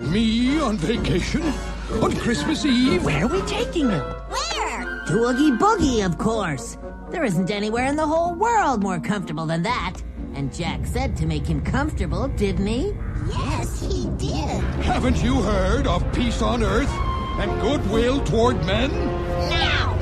Me on vacation? On Christmas Eve? Where are we taking him? Where? To Oogie Boogie, of course. There isn't anywhere in the whole world more comfortable than that. And Jack said to make him comfortable, didn't he? Yes, he did. Haven't you heard of peace on earth and goodwill toward men? Now!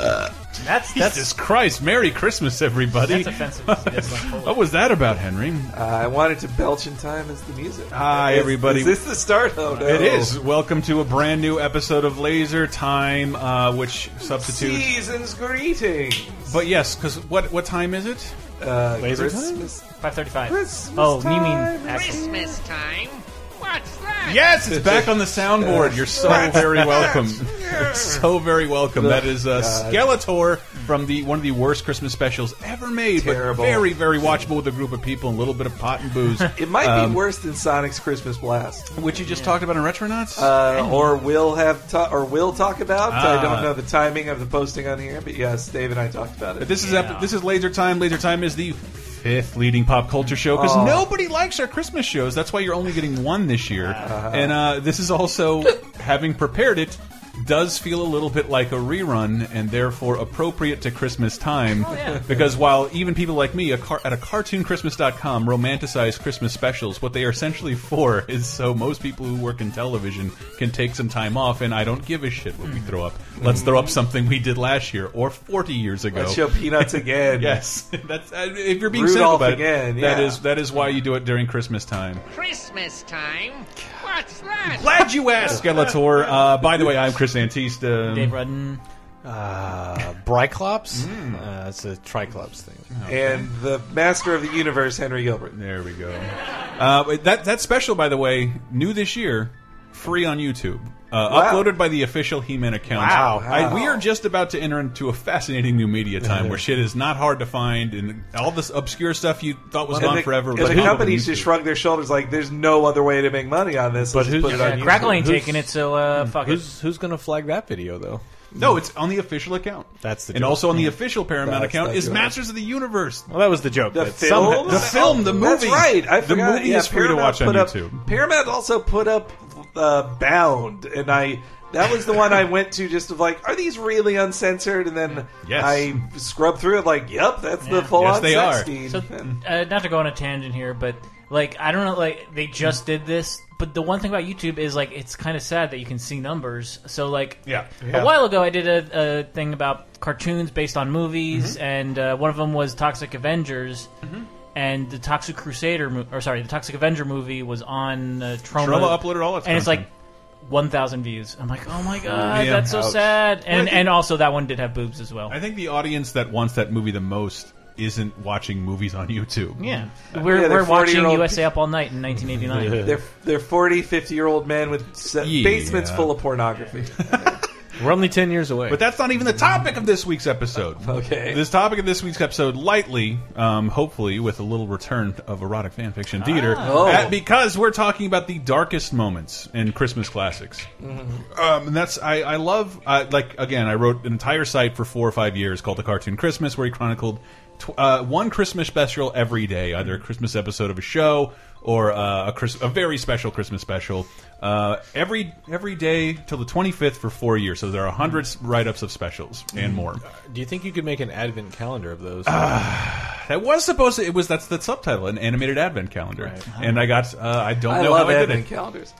Uh, That's Jesus that's Christ! Merry Christmas, everybody. that's offensive. That's What unholy. was that about, Henry? Uh, I wanted to belch in time as the music. Hi, Is- everybody. Is this the start? Oh, no. It is. Welcome to a brand new episode of Laser Time, uh, which substitutes. Season's greeting. But yes, because what what time is it? Uh, Laser time? Christmas. Five thirty-five. Christmas Oh, you mean time. actually- Christmas time? What's that? Yes, it's back on the Uh, soundboard. You're so very welcome. so very welcome. That is uh, God. Skeletor from the one of the worst Christmas specials ever made, Terrible. but very very watchable with a group of people and a little bit of pot and booze. It might Um, be worse than Sonic's Christmas Blast, Which you just talked about in Retronauts. uh, or will have ta- or will talk about. I Ah. don't know the timing of the posting on here, but yes, Dave and I talked about it. This is ep- this is Laser Time. Laser Time is the fifth leading pop culture show because Aw. nobody likes our Christmas shows. That's why you're only getting one this year. Uh-huh. And uh, this is also having prepared it does feel a little bit like a rerun and therefore appropriate to Christmas time Oh, because while even people like me a car at a cartoonchristmas.com romanticize Christmas specials what they are essentially for is so most people who work in television can take some time off and I don't give a shit Hmm. what we throw up let's throw up something we did last year or 40 years ago Let's show peanuts again. Yes, that's uh, if you're being cynical Rudolph about again, it. yeah. That is that is why you do it during Christmas time. Christmas time? What's that? Glad you asked, Skeletor. Uh, by the way, I'm Chris Antista. Dave Rudden. Uh, Bryclops? Mm. Uh, it's a Triclops thing. and the master of the universe, Henry Gilbert. There we go. Uh, but that that special, by the way, new this year, free on YouTube. Uh, Wow. Uploaded by the official He-Man account. Wow. I, we are just about to enter into a fascinating new media time where shit is not hard to find and all this obscure stuff you thought was And gone the, forever. and was the available on companies YouTube. just shrug their shoulders like, "There's no other way to make money on this." But who's- put it Yeah, on Crackle Crackle ain't Who's- taking it, so uh, Hmm. fuck it. Who's who's gonna flag that video though? Mm. No, it's on the official account. That's the and joke. also on the official Paramount That's account the is joke. Masters of the Universe. Well, that was the joke. The but film, somehow- the film, the That's movie. right. I The forgot. movie yeah, is free to Paramount watch on put up- YouTube. Paramount also put up uh, Bound, and I that was the one I went to just of like, are these really uncensored? And then Yes. I scrubbed through it like, yep, that's the Yeah. full Yes, on they sex are. scene. So, uh, not to go on a tangent here, but like I don't know, like they just did this. But the one thing about YouTube is like it's kind of sad that you can see numbers. So like, Yeah. a while ago I did a, a thing about cartoons based on movies, Mm-hmm. and uh, one of them was Toxic Avengers. And the Toxic Crusader, mo- or sorry, the Toxic Avenger movie was on uh, Troma. Troma uploaded all its and it's like content. one thousand views. I'm like, oh my god, Yeah. that's so Ouch. sad. Well, I And think- and also that one did have boobs as well. I think the audience that wants that movie the most isn't watching movies on YouTube. Yeah, we're, Yeah, they're we're watching 40-year-old USA Up All Night in 1989. They're, they're 40, 50 year old men with se- Yeah. basements full of pornography. We're only ten years away. But that's not even the topic of this week's episode. Okay. This topic of this week's episode, lightly, um, hopefully, with a little return of erotic fan fiction theater, Ah. Oh. uh, because we're talking about the darkest moments in Christmas classics. Um, and that's I, I love uh, like again I wrote an entire site for four or five years called the Cartoon Christmas where he chronicled tw uh, one Christmas special every day, either a Christmas episode of a show or uh, a, Chris- a very special Christmas special uh, every every day till the twenty fifth for four years. So there are hundreds write ups of specials and more. Mm. Ah, do you think you could make an advent calendar of those? That was supposed to it was that's the subtitle an animated advent calendar and I got uh, I don't Uh-huh. I know love how I did advent it. calendars.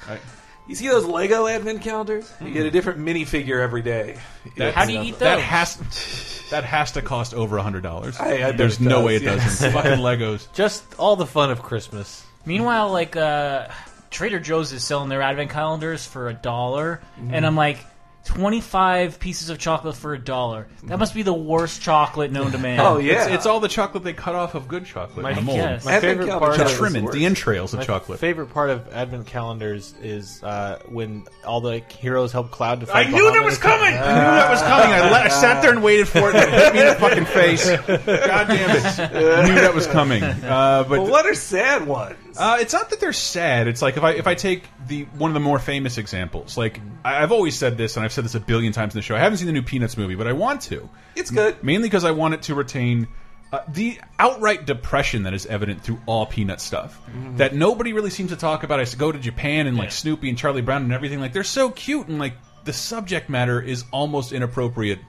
You see those Lego advent calendars? You get a different minifigure every day. That- How do you eat That those? has that has to cost over a hundred dollars. I- I bet There's it no does, way it yes. doesn't. Fucking Legos. Just all the fun of Christmas. Meanwhile, like uh, Trader Joe's is selling their advent calendars for a dollar, and I'm like, 25 pieces of chocolate for a dollar. That must be the worst chocolate known to man. Oh yeah, It's, it's all the chocolate they cut off of good chocolate. My in the mold. guess. My Advent favorite calendar part The of is trimming, worse. the entrails of my chocolate. favorite part of advent calendars is uh, when all the heroes help Cloud to I fight. knew that Bahamut. was coming. I knew that was coming. I, let, I sat there and waited for it. and It hit me in the fucking face. God damn it! I knew that was coming. Uh, but But what are sad ones? Uh, it's not that they're sad. It's like if I if I take the one of the more famous examples, like I, I've always said this, and I've said this a billion times in the show. I haven't seen the new Peanuts movie, but I want to. It's good. mainly because I want it to retain uh, the outright depression that is evident through all Peanut stuff that nobody really seems to talk about. I s- go to Japan and like Snoopy and Charlie Brown and everything. Like they're so cute, and like the subject matter is almost inappropriate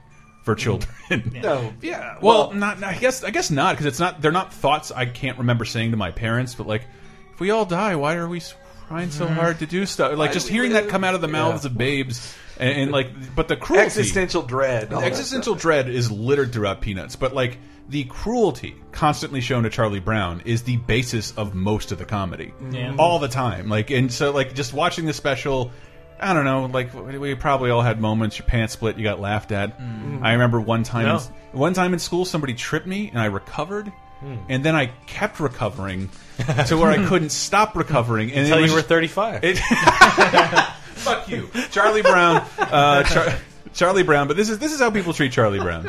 for children. No, yeah. Well, not I guess I guess not because it's not they're not thoughts I can't remember saying to my parents. But like, if we all die, why are we s- trying so hard to do stuff? Like do just we hearing live? that come out of the mouths of babes and, and like, but the cruelty, existential dread. all that existential dread is littered throughout Peanuts. But like the cruelty constantly shown to Charlie Brown is the basis of most of the comedy, Yeah. all the time. Like and so like just watching the special. I don't know. Like we probably all had moments. Your pants split. You got laughed at. I remember one time. No. in- one time in school, somebody tripped me, and I recovered. Hmm. And then I kept recovering to where I couldn't stop recovering. And it Until was you were just- 35. it- fuck you, Charlie Brown. Uh, Char Charlie Brown. But this is this is how people treat Charlie Brown.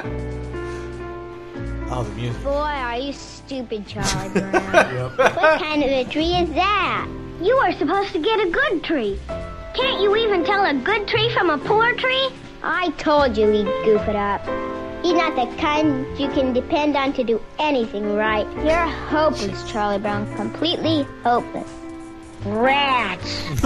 oh, the music. Boy, are you stupid, Charlie Brown. What kind of a tree is that? You are supposed to get a good tree. Can't you even tell a good tree from a poor tree? I told you he'd goof it up. He's not the kind you can depend on to do anything right. You're hopeless, Charlie Brown. Completely hopeless. Rats.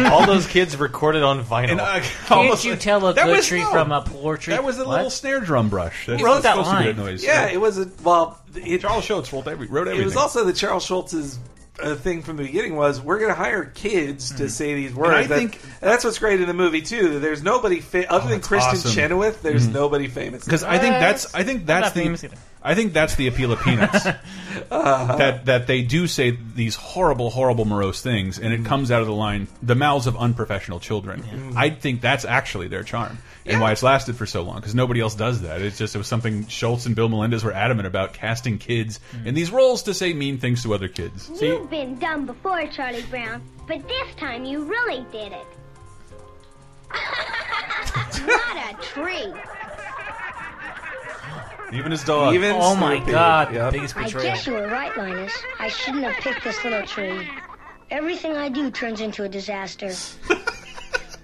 all those kids recorded on vinyl. And I Can't almost- you tell a that good was- tree no. from a poor tree? That was a What? little snare drum brush. That's Who wrote that supposed to be line? that noise. Yeah, it was a well. It, Charles Schultz wrote every wrote everything. it was also the Charles Schultz's uh, thing from the beginning was we're going to hire kids to say these words. Hmm. I That- think- that's what's great in the movie too. that There's nobody fa- other than that's Kristen awesome. Chenoweth. There's nobody famous because I think that's I think that's not famous the either. I think that's the appeal of Peanuts that that they do say these horrible horrible morose things and it comes out of the line the mouths of unprofessional children. I think that's actually their charm and why it's lasted for so long because nobody else does that. It's just it was something Schultz and Bill Melendez were adamant about casting kids in these roles to say mean things to other kids. You've been dumb before, Charlie Brown, but this time you really did it. what a treat. Even his dog. Even Oh my Snoopy. god, Yep. biggest I betrayal. guess you were right, Linus. I shouldn't have picked this little tree. Everything I do turns into a disaster.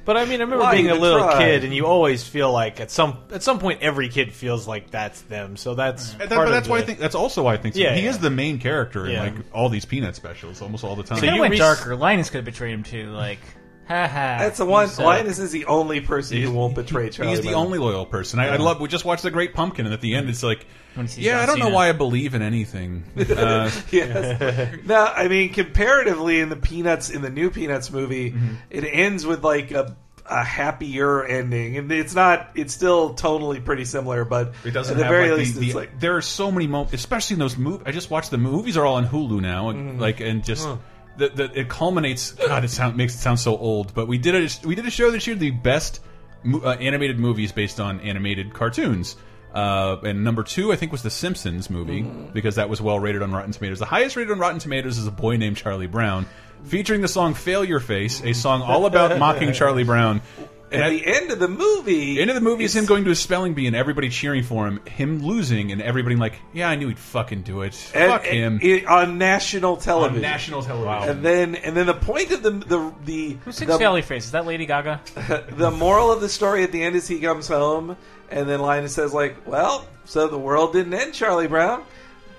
But I mean, I remember Why being a even little try? kid, and you always feel like at some at some point every kid feels like that's them. So that's And that- part but of that's why I the- think that's also why I think so. Yeah, he yeah. is the main character in Yeah. like all these peanut specials almost all the time. So It you went re- darker. Linus could have betrayed him too. Like, ha ha. That's the one. You suck. Linus is the only person who won't betray Charlie. He's the Brown. only loyal person. I, I love. We just watched The Great Pumpkin, and at the end, it's like, When he sees yeah, John I don't know Cena. why I believe in anything. Uh, Yes. no, I mean comparatively in the Peanuts in the new Peanuts movie, Mm-hmm. it ends with like a a happier ending, and it's not. It's still totally pretty similar, but it doesn't. At the have, very like, least, the, the- it's like there are so many moments, especially in those movies. I just watched the movies are all on Hulu now, Mm-hmm. and like, and just. The, the, it culminates. God, it sound, makes it sound so old. But we did a we did a show this year, the best mo- uh, animated movies based on animated cartoons. Uh, and number two, I think, was the Simpsons movie Mm-hmm. because that was well rated on Rotten Tomatoes. The highest rated on Rotten Tomatoes is a boy named Charlie Brown, featuring the song "Failure Face," a song all about mocking Charlie Brown. And at I- the end of the movie. the end of the movie is it's- him going to a spelling bee and everybody cheering for him, him losing, and everybody like, yeah, I knew he'd fucking do it. and- Fuck and- him. it- on national on television. national television. and then, and then the point of the the the Who sings the, Valley Face? Is that Lady Gaga? the moral of the story at the end is he comes home, and then Linus says like, "Well, so the world didn't end, Charlie Brown.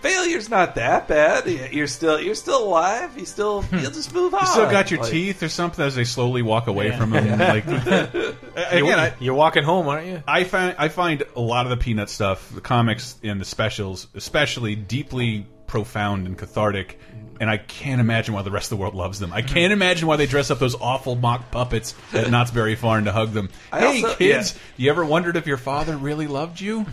Failure's not that bad. You're still you're still alive. You still Hmm. you'll just move on. You still got your Ah, Like, teeth or something as they slowly walk away from him. Like, Uh, again, I, you're walking home, aren't you? I find I find a lot of the peanut stuff, the comics and the specials, especially deeply profound and cathartic. And I can't imagine why the rest of the world loves them. I Mm-hmm. can't imagine why they dress up those awful mock puppets at Knott's Berry Farm to hug them. I hey also- kids, yeah. you ever wondered if your father really loved you?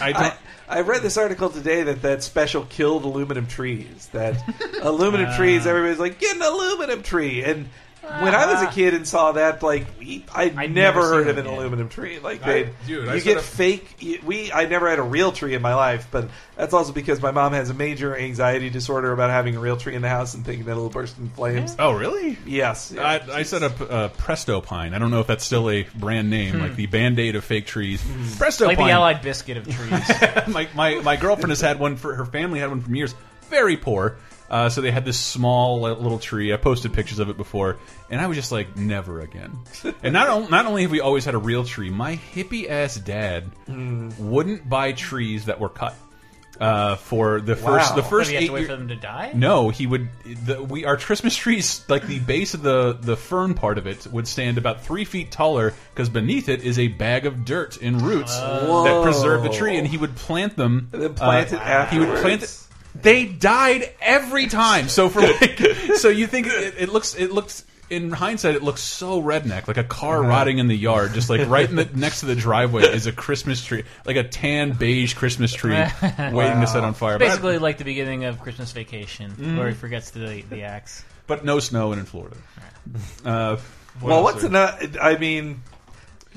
I don't. I, I read this article today that that special Uh. killed aluminum trees. That aluminum trees, everybody's like, get an aluminum tree. And When I was Uh. a kid and saw that, like we, I'd, never, never heard seen of it, an yeah. aluminum tree. Like I- they, dude, you I sort get of- fake. You, we, I never had a real tree in my life, but that's also because my mom has a major anxiety disorder about having a real tree in the house and thinking that it'll burst in flames. Oh, really? Yes, I, I set up uh, Presto Pine. I don't know if that's still a brand name, Hmm. like the band aid of fake trees. Presto like Pine. the Allied biscuit of trees. my, my my girlfriend has had one for her family had one for years. Very poor. Uh, so they had this small uh, little tree. I posted pictures of it before, and I was just like, never again. And not on- not only have we always had a real tree, my hippie ass dad Hmm. wouldn't buy trees that were cut uh, for the first the What, first do you have eight to wait year- for them to die? no, he would. The, we our Christmas trees, like the base of the the fern part of it, would stand about three feet taller because beneath it is a bag of dirt and roots that preserve the tree. And he would plant them. then plant it Uh, He would plant it. afterwards. They died every time. So for like, so you think it, it looks it looks. In hindsight, it looks so redneck, like a car rotting in the yard, just like right in the, next to the driveway is a Christmas tree, like a tan beige Christmas tree, waiting to set on fire. But I- Basically, like the beginning of Christmas Vacation, where he forgets the the axe. but no snow and in Florida. Uh, well, what's another? another? I mean,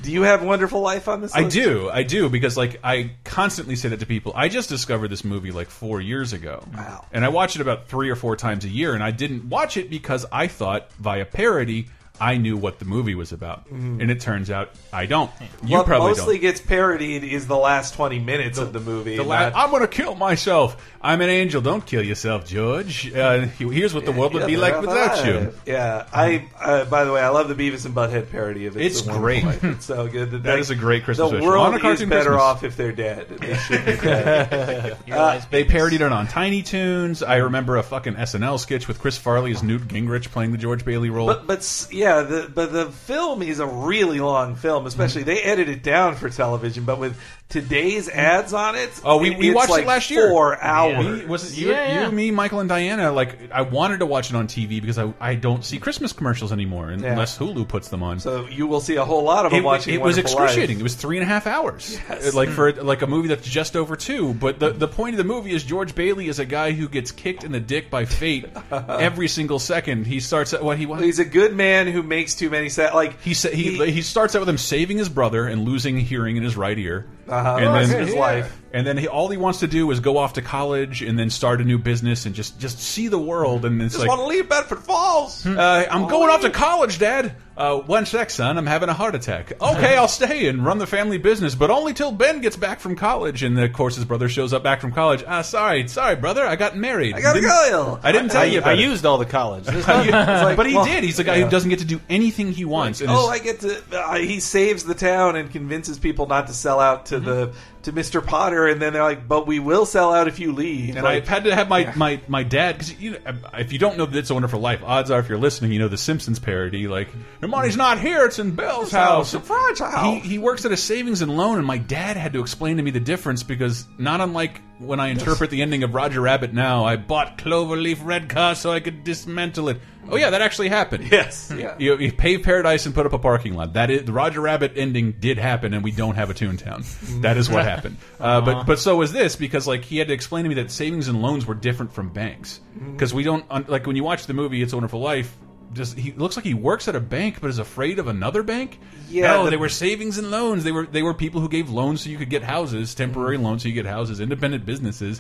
do you have Wonderful Life on this? I list? do, I do, because like I constantly say that to people. I just discovered this movie like four years ago, Wow. and I watch it about three or four times a year. And I didn't watch it because I thought via parody I knew what the movie was about, and it turns out I don't. You what probably Mm-hmm. mostly don't. gets parodied is the last twenty minutes of the movie. The la- not- I'm going to kill myself. I'm an angel. Don't kill yourself, George. Uh, here's what the world would be Yeah, like they're without you. alive. Yeah, I. Uh, by the way, I love the Beavis and Butthead parody of it. It's a Wonderful great. Life. It's so good. That, is a great Christmas The wish. world On a is cartoon better Christmas. off if they're dead. They should be dead. Uh, You realize They parodied it on Tiny Toons. I remember a fucking SNL sketch with Chris Farley as Newt Gingrich playing the George Bailey role. but but s- yeah, the but the film is a really long film. Especially they edit it down for television, but with today's ads on it. Oh, we- it- we it's watched it like last year. Four We- hours. was it you, Yeah, yeah. you, me, Michael, and Diana? Like, I wanted to watch it on TV because I, I don't see Christmas commercials anymore unless Hulu puts them on. So you will see a whole lot of them it, watching. it was Wonderful Life. excruciating. It was three and a half hours, like for like a movie that's just over two. But the the point of the movie is George Bailey is a guy who gets kicked in the dick by fate every single second. He starts at what he wants. He's a good man who makes too many sad. Like He, sa he he starts out with him saving his brother and losing hearing in his right ear, Uh-huh. and Lost then his life. And then he, all he wants to do is go off to college and then start a new business and just just see the world. And it's just like, want to leave Bedford Falls. uh, I'm going off to college, Dad. Uh, one sec, son. I'm having a heart attack. Okay, I'll stay and run the family business, but only till Ben gets back from college. And of course, his brother shows up back from college. Ah, sorry, sorry, brother. I got married. I gotta Didn't- go. I didn't tell I, you I about it. used all the college. There's You- like, but he well, did. He's a guy who doesn't get to do anything he wants. and Oh, is- I get to. Uh, he saves the town and convinces people not to sell out Mm-hmm. to the to Mister Potter, and then they're like, "But we will sell out if you leave." And like, I've had to have my my, my dad because you know, if you don't know that it's a Wonderful Life, odds are if you're listening, you know the Simpsons parody. Like Hermione's not here; it's in Belle's house. house, Fraud's house. He, he works at a savings and loan, and my dad had to explain to me the difference because not unlike when I interpret the ending of Roger Rabbit now, I bought Cloverleaf Redcar so I could dismantle it. Oh yeah, that actually happened. yes, yeah. You, you pave paradise and put up a parking lot. That is the Roger Rabbit ending did happen, and we don't have a Toontown. That is what happened. Uh, but but so was this because like he had to explain to me that savings and loans were different from banks because we don't un- like when you watch the movie It's a Wonderful Life. Just he looks like he works at a bank, but is afraid of another bank. Yeah, no, the- they were savings and loans. They were they were people who gave loans so you could get houses, Mm. temporary loans so you get houses, independent businesses.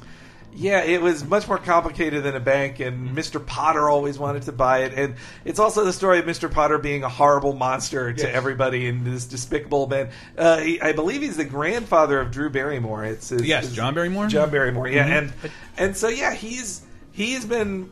Yeah, it was much more complicated than a bank, and Mr. Potter always wanted to buy it. And it's also the story of Mr. Potter being a horrible monster to everybody and this despicable man. Uh, he, I believe he's the grandfather of Drew Barrymore. It's his, Yes, his- John Barrymore? Mm-hmm. John Barrymore, yeah. And and so yeah, he's he's been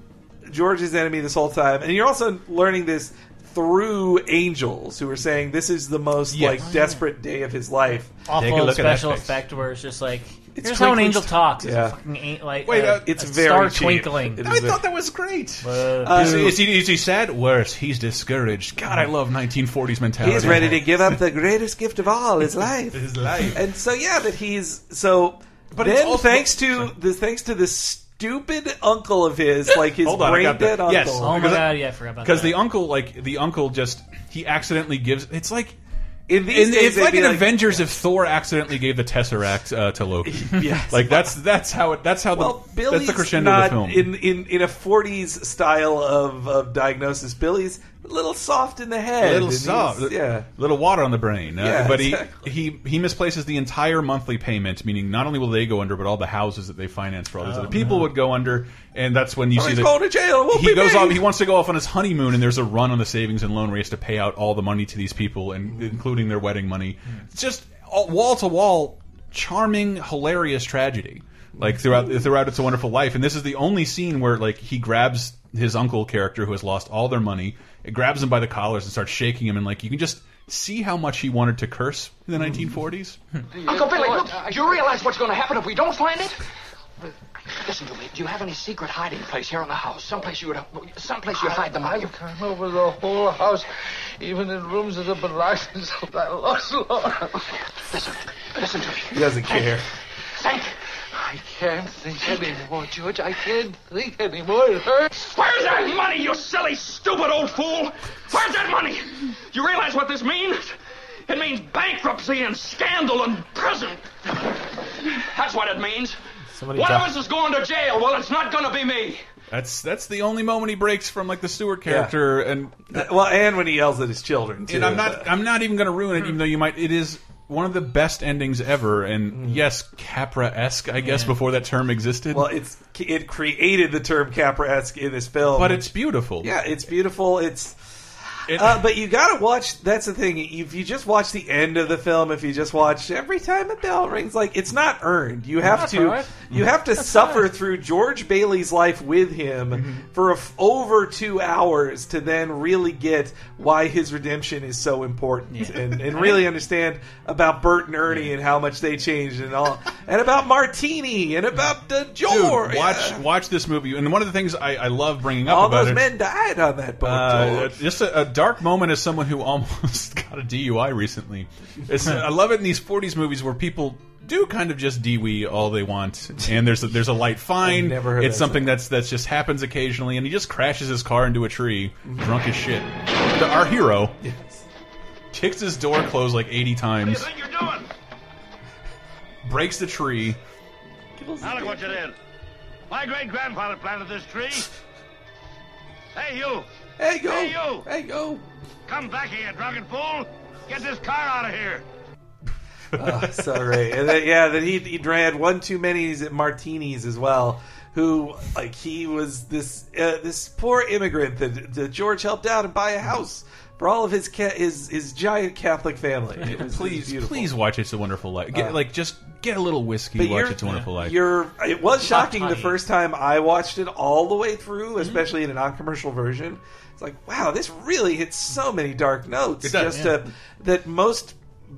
George's enemy this whole time, and you're also learning this through angels who are saying this is the most Yes. like desperate day of his life. Take a awful look at that special face. effect where it's just like It's here's how an twinkling angel st- talks. Yeah. It's a fucking an- like Wait, a, uh, It's a very star cheap. twinkling. It I thought that was great. Uh, is, is he, is he sad? Worse, he's discouraged. God, I love 1940s mentality. He's ready to give up the greatest gift of all, his life. his life. And so yeah, but he's so. But it's then also- thanks to the thanks to this stupid uncle of his, like his Hold on, I brain got that. dead uncle. Yes. oh my because I- god, yeah, I forgot about that. Because the uncle, like the uncle, just he accidentally gives. It's like In these in, days, it's they'd like be an Avengers if Thor accidentally gave the Tesseract uh, to Loki. Yes. like that's that's how it. That's how Well, the that's Billy's the crescendo not of the film. in in in a '40s style of of diagnosis. Billy's a little soft in the head. little and he's- soft, Yeah. little water on the brain. Uh, Yeah, but exactly. he he he misplaces the entire monthly payment, meaning not only will they go under, but all the houses that they finance for all these other people would go under, and that's when you Oh, see he's the. going to jail. It won't He be goes me. off. He wants to go off on his honeymoon, and there's a run on the savings and loan where he has to pay out all the money to these people, and including their wedding money. It's Just all- wall to wall, charming, hilarious tragedy. Like throughout throughout It's a Wonderful Life, and this is the only scene where like he grabs his uncle character who has lost all their money, it grabs him by the collars and starts shaking him, and like you can just see how much he wanted to curse in the 1940s. Uncle Billy, look, you realize what's going to happen if we don't find it? Listen to me. Do you have any secret hiding place here in the house? Someplace you would, someplace you hide them. You I'm over the whole house, even in rooms that have been locked since I lost Laura. listen, listen to me. He doesn't care. Think. I can't think anymore, George. I can't think anymore. It hurts. Where's that money, you silly, stupid old fool? Where's that money? You realize what this means? It means bankruptcy and scandal and prison. That's what it means. Somebody One die- of us is going to jail. Well, it's not going to be me. That's that's the only moment he breaks from like the Stewart character, and Well, and when he yells at his children, too. And I'm not I'm not even going to ruin it, even though you might. It is one of the best endings ever, and yes, Capra esque, I guess, before that term existed. Mm-hmm. Well, it's it created the term Capra-esque in this film. but it's beautiful. yeah, it's beautiful. It's It- uh, but you gotta watch. That's the thing. If you just watch the end of the film, if you just watch every time a bell rings, like it's not earned. You have That's to. all right. You have to suffer through George Bailey's life with him Mm-hmm. for a f over two hours to then really get why his redemption is so important and, and really understand about Bert and Ernie and how much they changed and all, and about Martini and about the Dude, George. watch watch this movie, and one of the things I, I love bringing up all about those it, men died on that boat. Uh, George. just a, a dark moment as someone who almost got a DUI recently. It's, I love it in these '40s movies where people do kind of just DUI all they want, and there's a, there's a light fine. never heard it's that something that's that's just happens occasionally, and he just crashes his car into a tree, drunk as shit. The- our hero kicks his door closed like 80 What do times, you think you're doing? breaks the tree. Now look what you did. My great grandfather planted this tree. Hey, you! Hey go! Hey, you! Hey go! Come back here, drunken fool! Get this car out of here! Oh, sorry. And then, yeah, then he he drank one too many martinis as well. Who like he was this uh, this poor immigrant that, that George helped out and buy a house for all of his ca- his his giant Catholic family. It was- it was Please, beautiful. please watch It's a Wonderful Life. Get, Uh, like just get a little whiskey. But watch you're- It's a Wonderful Life. You're, it was shocking the tiny. first time I watched it all the way Mm-hmm. through, especially in a non-commercial version. It's like, wow, this really hits so many dark notes. It does, just yeah. uh, that most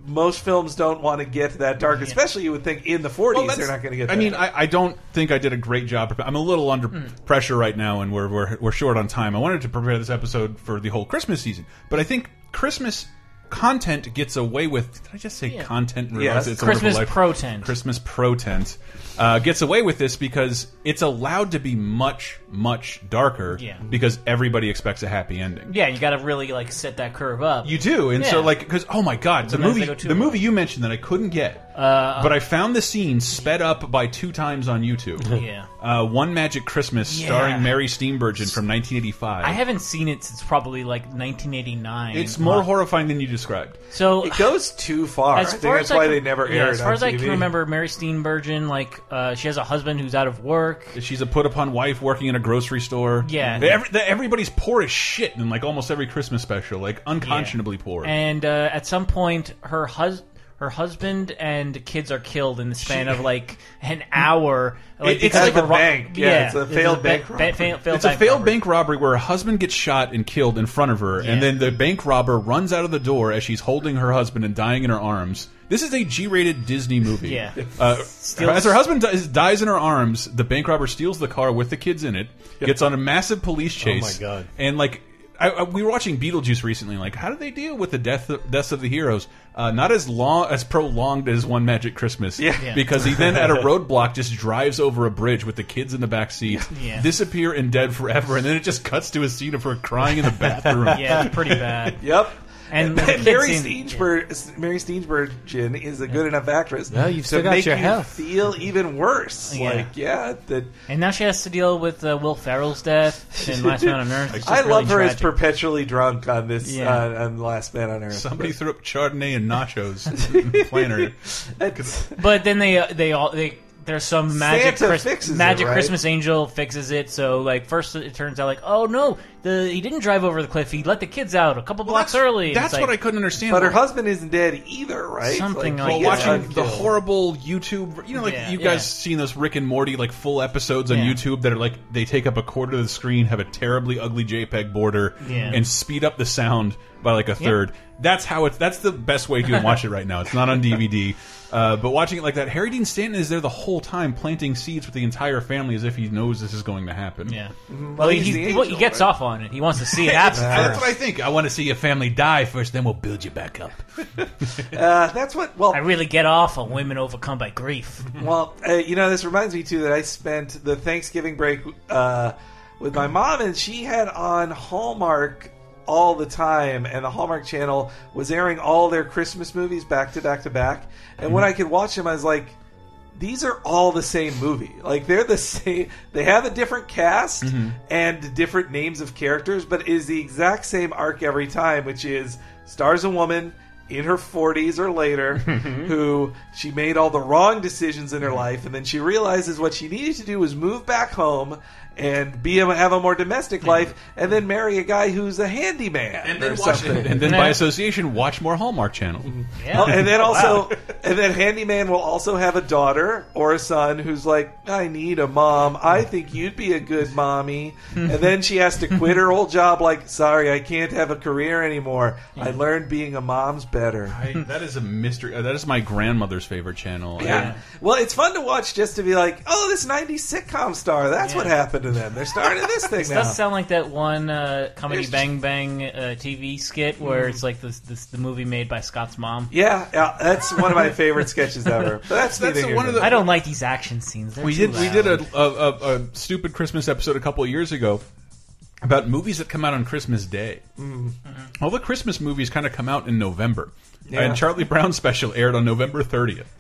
most films don't want to get that dark, Mm-hmm. especially you would think in the 40s Well, they're that's- not going to get. I that. mean, I, I don't think I did a great job. I'm a little under Hmm. pressure right now, and we're, we're we're short on time. I wanted to prepare this episode for the whole Christmas season, but I think Christmas content gets away with. Did I just say content? in regards to It's a Wonderful Christmas Life? pro-tent. Christmas pro tent uh, gets away with this because it's allowed to be much much darker. Yeah. Because everybody expects a happy ending. Yeah, you got to really like set that curve up. You do, and so Yeah. like because oh my god, the Sometimes movie, they go too the long. movie you mentioned that I couldn't get, Uh, but I found the scene sped up by two times on YouTube. Yeah. uh, One Magic Christmas, Yeah. starring Mary Steenburgen from 1985. I haven't seen it since probably like 1989. it's more horrifying than you described. So it goes too far. I as think far that's as I why can- they never yeah, aired. As far on as I can TV. remember, Mary Steenburgen, like uh, she has a husband who's out of work. She's a put upon wife working in a grocery store. Yeah. They- every, they- everybody's poor as shit in like almost every Christmas special, like unconscionably poor. and uh, at some point her hus her husband and kids are killed in the span of like an hour. Like, it's because like of a ro- bank. Yeah, it's a failed ba- bank ba- robbery. fail- failed it's a bank failed robbery. bank robbery where her husband gets shot and killed in front of her, and Yeah. then the bank robber runs out of the door as she's holding her husband and dying in her arms. This is a G-rated Disney movie. Yeah. Uh, as her husband dies, dies in her arms, the bank robber steals the car with the kids in it, gets on a massive police Oh chase. my God. And like. I, I, we were watching Beetlejuice recently. Like, how do they deal with the death deaths of the heroes? Uh, not as long as prolonged as One Magic Christmas. Yeah. Yeah. Because he then at a roadblock just drives over a bridge with the kids in the back seat Yeah. disappear and dead forever, and then it just cuts to a scene of her crying in the bathroom. Yeah, it's pretty bad. Yep. And the kid Mary scene- Steenburgen, Mary Steenburgen is a good enough actress. No, you've to still got make your you health. feel even worse. Like, yeah, that. And now she has to deal with uh, Will Ferrell's death and Last Man on Earth. It's just I love her really as perpetually drunk on this Yeah. uh, on Last Man on Earth. Somebody threw up Chardonnay and nachos in the planner. tragic. But then they uh, they all they there's some magic Santa Chris- fixes it, magic right? Christmas angel fixes it. So like first it turns out like oh no the he didn't drive over the cliff. He let the kids out a couple blocks early. And that's it's like, what I couldn't understand. But her husband isn't dead either, right? Something Well, like watching that. the horrible YouTube, you know, like Yeah, you guys yeah. seen those Rick and Morty like full episodes on Yeah. YouTube that are like they take up a quarter of the screen, have a terribly ugly JPEG border, Yeah. and speed up the sound by like a third. That's how it's. That's the best way to watch it right now. It's not on DVD. Uh, but watching it like that, Harry Dean Stanton is there the whole time planting seeds with the entire family as if he knows this is going to happen. Yeah. Well, he, he, well, he gets off on it. He wants to see it happen. That's first. what I think. I want to see your family die first, then we'll build you back up. Uh, that's what. Well, I really get off on women overcome by grief. Well, uh, you know, this reminds me too that I spent the Thanksgiving break uh, with my mom, and she had on Hallmark all the time, and the Hallmark Channel was airing all their Christmas movies back to back to back. And when I could watch them, I was like, "These are all the same movie. Like they're the same. They have a different cast Mhm. and different names of characters, but it is the exact same arc every time, which is stars a woman." In her 40s or later, Mm-hmm. who she made all the wrong decisions in her life, and then she realizes what she needed to do was move back home and be a, have a more domestic Mm-hmm. life, and then marry a guy who's a handyman or something. and then by association, watch more Hallmark Channel. Mm-hmm. Oh, and then also, and then handyman will also have a daughter or a son who's like, I need a mom. I think you'd be a good mommy. and then she has to quit her old job. Like, sorry, I can't have a career anymore. I learned being a mom's better. I, that is a mystery. uh, That is my grandmother's favorite channel. Yeah. Well, it's fun to watch just to be like, oh, this 90s sitcom star. That's what happened to them. They're starting this thing This now. does sound like that one uh, comedy There's- Bang Bang uh, TV skit where Mhm. it's like this, this the movie made by Scott's mom. yeah, yeah, that's one of my favorite sketches ever. But that's, That's neither here one of nor I don't like these action scenes. They're we too did we loud. did a, a, a, a stupid Christmas episode a couple of years ago about movies that come out on Christmas Day. All the Christmas movies kind of come out in November, Mm-hmm. Yeah. and Charlie Brown special aired on November thirtieth.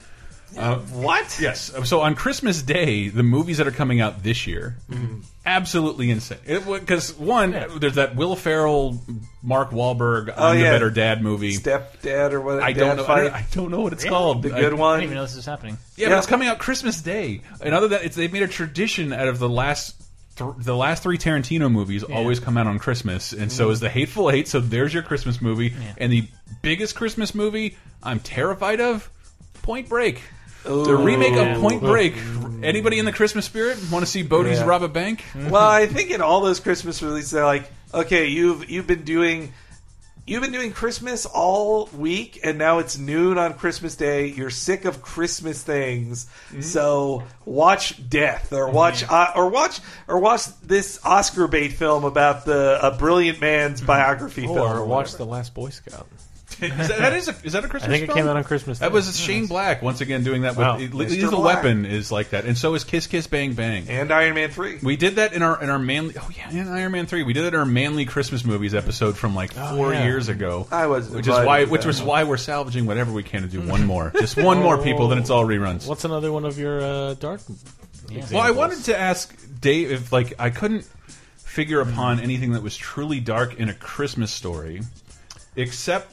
Uh, what? Yes. So on Christmas Day, the movies that are coming out this year, Mm-hmm. absolutely insane. Because one, there's that Will Ferrell, Mark Wahlberg, Oh, I'm yeah. the Better Dad movie. Stepdad or what? I dad don't know. I Fight. don't, I don't know what it's called. The I- good I one. didn't even know this was happening. Yeah, but it's coming out Christmas Day. And other than it's, they've made a tradition out of the last th the last three Tarantino movies always come out on Christmas, and Mm-hmm. so is the Hateful Eight. So there's your Christmas movie, and the biggest Christmas movie I'm terrified of, Point Break. The remake Ooh. of Point Break. Anybody in the Christmas spirit want to see Bodie's Yeah. rob a bank? Mm-hmm. Well, I think in all those Christmas releases, they're like, okay, you've you've been doing you've been doing Christmas all week, and now it's noon on Christmas Day. You're sick of Christmas things, Mm-hmm. so watch Death or watch uh, or watch or watch this Oscar bait film about the a brilliant man's Mm-hmm. biography film. Or watch whatever. The Last Boy Scout. Is that, that is a, is that a Christmas? think it film? came out on Christmas That Day. was Shane Black once again doing that. Wow. With, Mr. Lethal Black. Weapon is like that, and so is Kiss Kiss Bang Bang. and Iron Man three. We did that in our in our manly oh yeah in Iron Man three we did that in our manly Christmas movies episode from like four yeah. years ago. Oh, I was which is why invited to which that was one. why we're salvaging whatever we can to do one more just one more people then it's Oh. all reruns. What's another one of your uh, dark? Well, I examples? wanted to ask Dave if like I couldn't figure upon anything that was truly dark in a Christmas story, except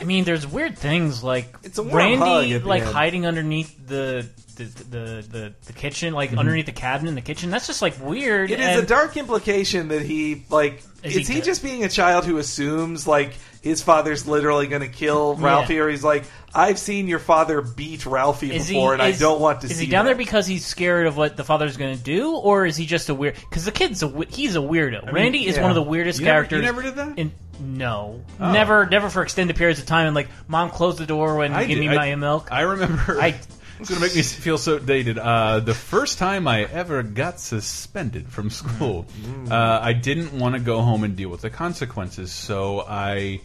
I mean, there's weird things like It's a warm hug Randy at the like end. hiding underneath the the the, the, the kitchen, like underneath the cabinet in the kitchen. That's just like weird. Mm-hmm. It is and- a dark implication that he like. Is Is, he he, dead? just being a child who assumes like his father's literally going to kill Ralphie, or he's like, I've seen your father beat Ralphie Is he- before, and is- I don't want to Is see he down there that." because he's scared of what the father's going to do, or is he just a weird? Because the kid's a we- he's a weirdo. Randy is yeah. one of the weirdest You never- you characters. never did Oh. that? In, no, never, never for extended periods of time. And like, mom, close the door when you give did- me my milk. I remember. I- it's gonna make me feel so dated. Uh, the first time I ever got suspended from school, Mm. Mm. uh, I didn't want to go home and deal with the consequences, so I.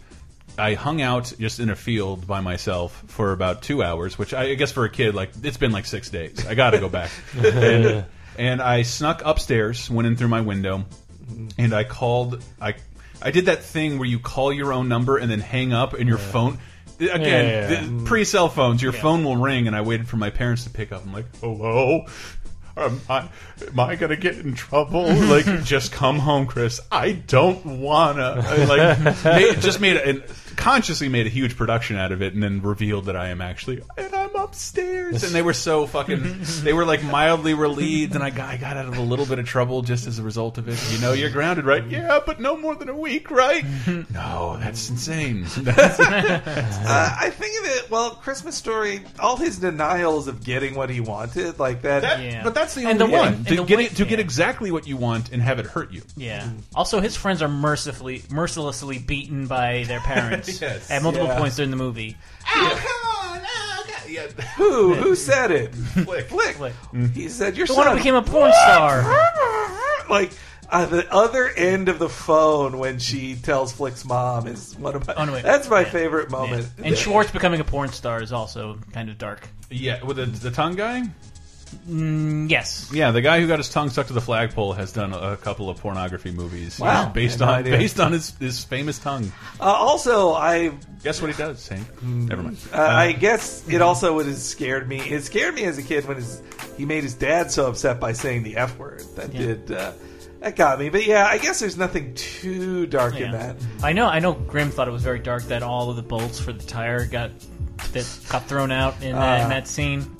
I hung out just in a field by myself for about two hours, which I, I guess for a kid, like it's been like six days. I got to go back, and, and I snuck upstairs, went in through my window, and I called. I I did that thing where you call your own number and then hang up, and your phone. Again, Yeah, yeah, yeah. the- pre-cell phones, your phone will ring, and I waited for my parents to pick up. I'm like, hello. Am I, am I gonna get in trouble? Like, just come home, Chris. I don't wanna. I, like, made, just made a, and consciously made a huge production out of it, and then revealed that I am actually and I'm upstairs. And they were so fucking. They were like mildly relieved, and I got, I got out of a little bit of trouble just as a result of it. You know, you're grounded, right? Yeah, but no more than a week, right? no, that's insane. Uh, I think of it. Well, Christmas Story, all his denials of getting what he wanted, like that. That- But that's the only one to get it, to get exactly what you want and have it hurt you. Yeah. Also, his friends are mercifully, mercilessly beaten by their parents Yes. at multiple Yeah. points during the movie. Who who said it? Flick, flick. He said your The son one who became a porn star. like uh, the other end of the phone when she tells Flick's mom is one of my. Oh, no, wait. That's my Yeah. favorite moment. Yeah. And Schwartz becoming a porn star is also kind of dark. Yeah, with the, the tongue guy. Mm, yes. Yeah, the guy who got his tongue stuck to the flagpole has done a, a couple of pornography movies Wow. based I had no on idea. based on his, his famous tongue. Uh, also, I Guess what he does, Hank? Never mind. Uh, I guess it also would have scared me. It scared me as a kid when his, he made his dad so upset by saying the f word. That did uh, that got me. But yeah, I guess there's nothing too dark in Yeah. that. I know. I know. Grimm thought it was very dark that all of the bolts for the tire got that got thrown out in that, Ah. in that scene.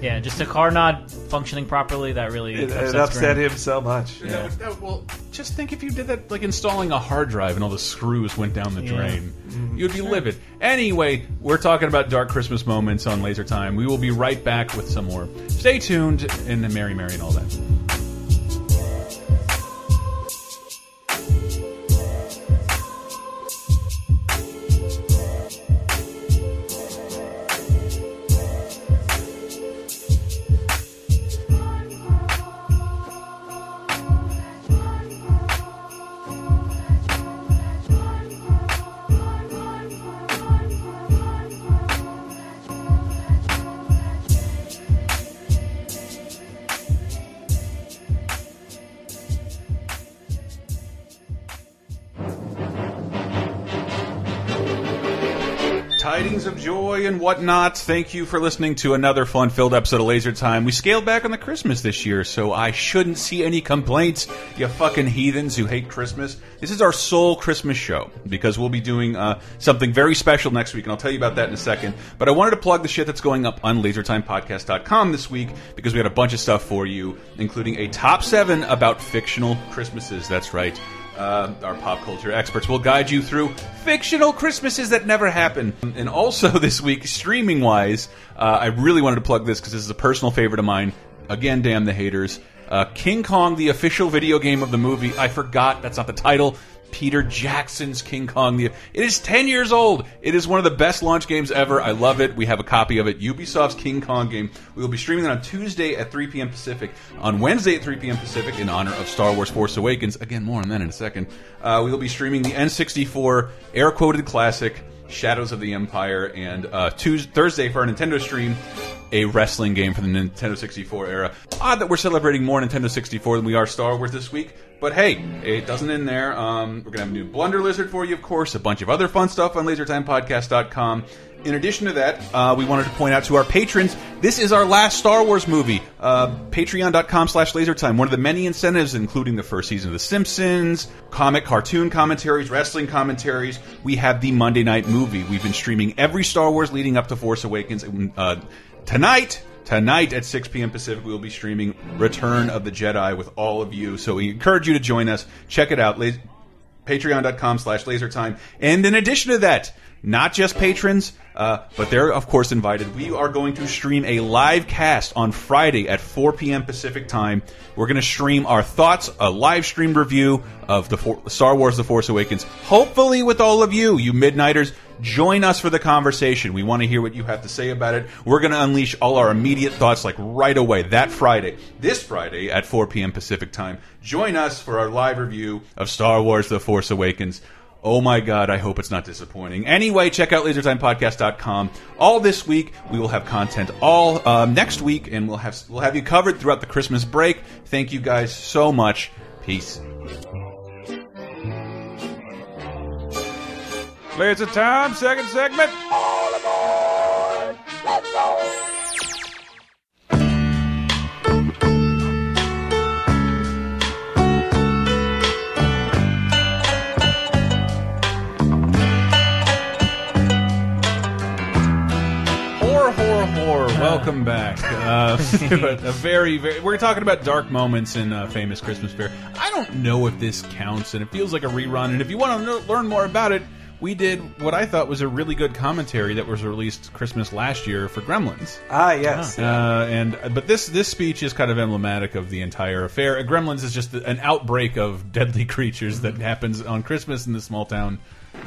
Yeah, just the car not functioning properly. That really It, upsets it upset Grimm. him so much. That would- that- well, just think if you did that, like installing a hard drive and all the screws went down the Yeah. drain. Mm-hmm. Mm. You'd be livid. Anyway, we're talking about dark Christmas moments on Laser Time. We will be right back with some more. Stay tuned and Merry Merry and all that. Tidings of joy and whatnot. Thank you for listening to another fun filled episode of Laser Time. We scaled back on the Christmas this year, so I shouldn't see any complaints, you fucking heathens who hate Christmas. This is our sole Christmas show because we'll be doing uh, something very special next week, and I'll tell you about that in a second. But I wanted to plug the shit that's going up on lasertimepodcast.com this week because we had a bunch of stuff for you, including a top seven about fictional Christmases. That's right uh, our pop culture experts will guide you through fictional Christmases that never happen. And also this week, streaming wise, uh, I really wanted to plug this because this is a personal favorite of mine. Again, damn the haters. Uh, King Kong, the official video game of the movie. I forgot that's not the title. Peter Jackson's King Kong. The, it is 10 years old. It is one of the best launch games ever. I love it. We have a copy of it. Ubisoft's King Kong game. We will be streaming that on Tuesday at 3 p.m. Pacific, on Wednesday at 3 p.m. Pacific in honor of Star Wars Force Awakens. Again, more on that in a second. Uh, we will be streaming the N64 air quoted classic Shadows of the Empire and uh, Tuesday, Thursday for our Nintendo stream. A wrestling game for the Nintendo 64 era. Odd that we're celebrating more Nintendo 64 than we are Star Wars this week, but hey, it doesn't end there. Um, we're going to have a new Blunder Lizard for you, of course, a bunch of other fun stuff on lasertimepodcast.com. In addition to that, uh, we wanted to point out to our patrons, this is our last Star Wars movie. Uh, Patreon.com slash lasertime. One of the many incentives, including the first season of The Simpsons, comic cartoon commentaries, wrestling commentaries. We have the Monday night movie. We've been streaming every Star Wars leading up to Force Awakens. Uh, tonight, Tonight at 6 p.m. Pacific, we will be streaming Return of the Jedi with all of you. So we encourage you to join us. Check it out. Las- Patreon.com slash lasertime. And in addition to that, not just patrons, uh, but they're, of course, invited. We are going to stream a live cast on Friday at 4 p.m. Pacific time. We're going to stream our thoughts, a live streamed review of the For Star Wars The Force Awakens. Hopefully, with all of you, you Midnighters, join us for the conversation. We want to hear what you have to say about it. We're going to unleash all our immediate thoughts like right away that Friday, this Friday at 4 p.m. Pacific time. Join us for our live review of Star Wars The Force Awakens. Oh my God, I hope it's not disappointing. Anyway, check out lasertimepodcast.com. All this week, we will have content all um, next week, and we'll have, we'll have you covered throughout the Christmas break. Thank you guys so much. Peace. Clears the time, second segment. Horror, horror, horror. Welcome back. Uh, but a very, very. We're talking about dark moments in uh, famous Christmas fair. I don't know if this counts, and it feels like a rerun. And if you want to know, learn more about it, we did what I thought was a really good commentary that was released Christmas last year for Gremlins. Ah, yes. Uh, and but this this speech is kind of emblematic of the entire affair. Gremlins is just an outbreak of deadly creatures that happens on Christmas in the small town.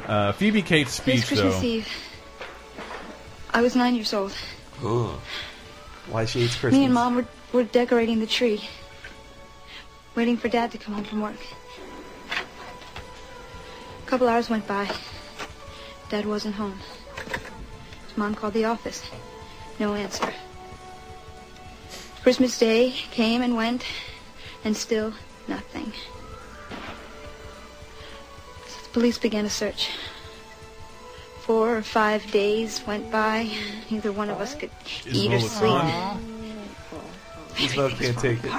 Uh, Phoebe Cates' This speech, Christmas though. Eve, I was nine years old. Why she hates Me Christmas. and Mom were, were decorating the tree, waiting for Dad to come home from work. A couple hours went by. Dad wasn't home. So Mom called the office. No answer. Christmas Day came and went, and still nothing. So the police began a search. Four or five days went by. Neither one of us could Is eat or Rolex sleep. on? Gizmo can't take it.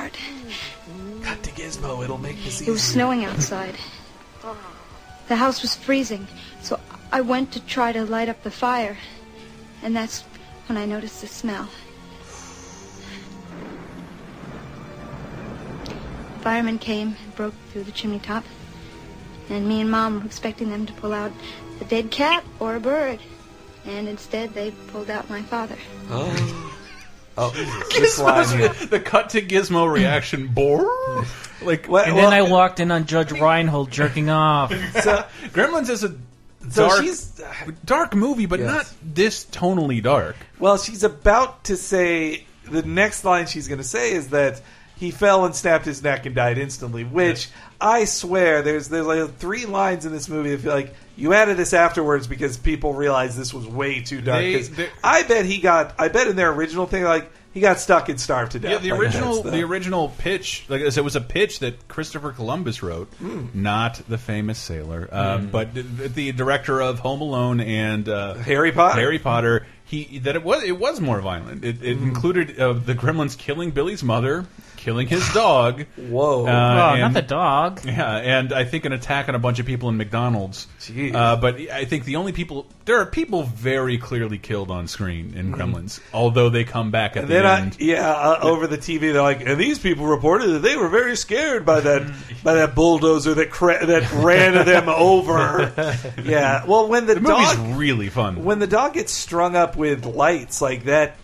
Cut to Gizmo. It'll make this It was easier. snowing outside. The house was freezing, so I went to try to light up the fire. And that's when I noticed the smell. Firemen came and broke through the chimney top. And me and Mom were expecting them to pull out a dead cat or a bird. And instead, they pulled out my father. Oh. Oh, This this was line here. the, the cut to Gizmo reaction. Bore. Like, and then I walked in on Judge Reinhold jerking off. Gremlins is a So dark, she's- dark movie, but Yes. not this tonally dark. Well, she's about to say the next line she's going to say is that he fell and snapped his neck and died instantly. Which I swear, there's there's like three lines in this movie that feel like you added this afterwards because people realized this was way too dark. They- 'Cause they- I bet he got. I bet in their original thing, like he got stuck and starved to death. Yeah, the Like, original that's the original pitch, like I said, was a pitch that Christopher Columbus wrote, Hmm. not the famous sailor, uh, Hmm. Mm. but th- th- the director of Home Alone and uh, Harry Potter. Harry Potter. He that it was it was more violent. It, Hmm. it included uh, the Gremlins killing Billy's mother, killing his dog. Uh, Whoa! Wow, Oh, not the dog. Yeah, and I think an attack on a bunch of people in McDonald's. Uh, but I think the only people there are people very clearly killed on screen in Mhm. Gremlins, although they come back at And the then end. I, yeah, uh, over the TV, they're like, and these people reported that they were very scared by that by that bulldozer that cra- that ran them over. Yeah, well, when the, The movie's dog really fun. when the dog gets strung up with lights like that,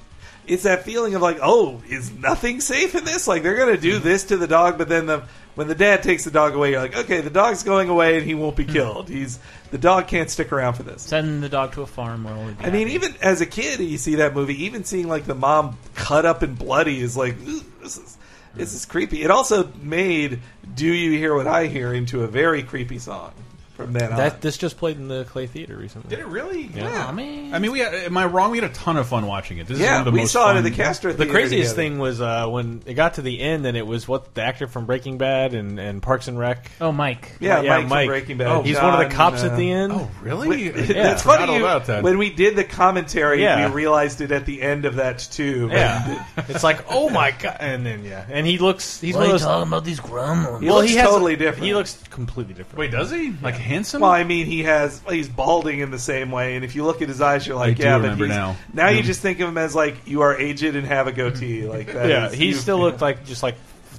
it's that feeling of like, oh, is nothing safe in this? Like they're gonna do this to the dog, but then the when the dad takes the dog away, you're like, okay, the dog's going away and he won't be killed. He's the dog can't stick around for this. Send the dog to a farm where we'll be. I mean, even as a kid, you see that movie. Even seeing like the mom cut up and bloody is like, "Ooh, this is this is creepy. It also made "Do You Hear What I Hear" into a very creepy song from then on. That this just played in the Clay Theater recently. Did it really? Yeah. I mean, we had, am I wrong? We had a ton of fun watching it. This is Yeah, one of the we most saw it fun. at the Castor The craziest thing was uh, when it got to the end, and it was what the actor from Breaking Bad and, and Parks and Rec. Oh, Oh, Mike. Yeah, Mike from Breaking Bad. he's one of John, the cops uh, at the end. Oh, really? That's funny. you- When we did the commentary, Yeah. we realized it at the end of that too. Yeah. it's like, oh my god! And then yeah, and he looks. He's Why one you of those, talking about these gremlins? He well, looks he has totally different. He looks completely different. Wait, does he? Like handsome? Well, I mean, he has he's balding in the same way, and if you look at his eyes, you're I like, do yeah, but remember he's, now. you Mm. just think of him as like you are aged and have a goatee. Like, that yeah, is- he you- still looked like just like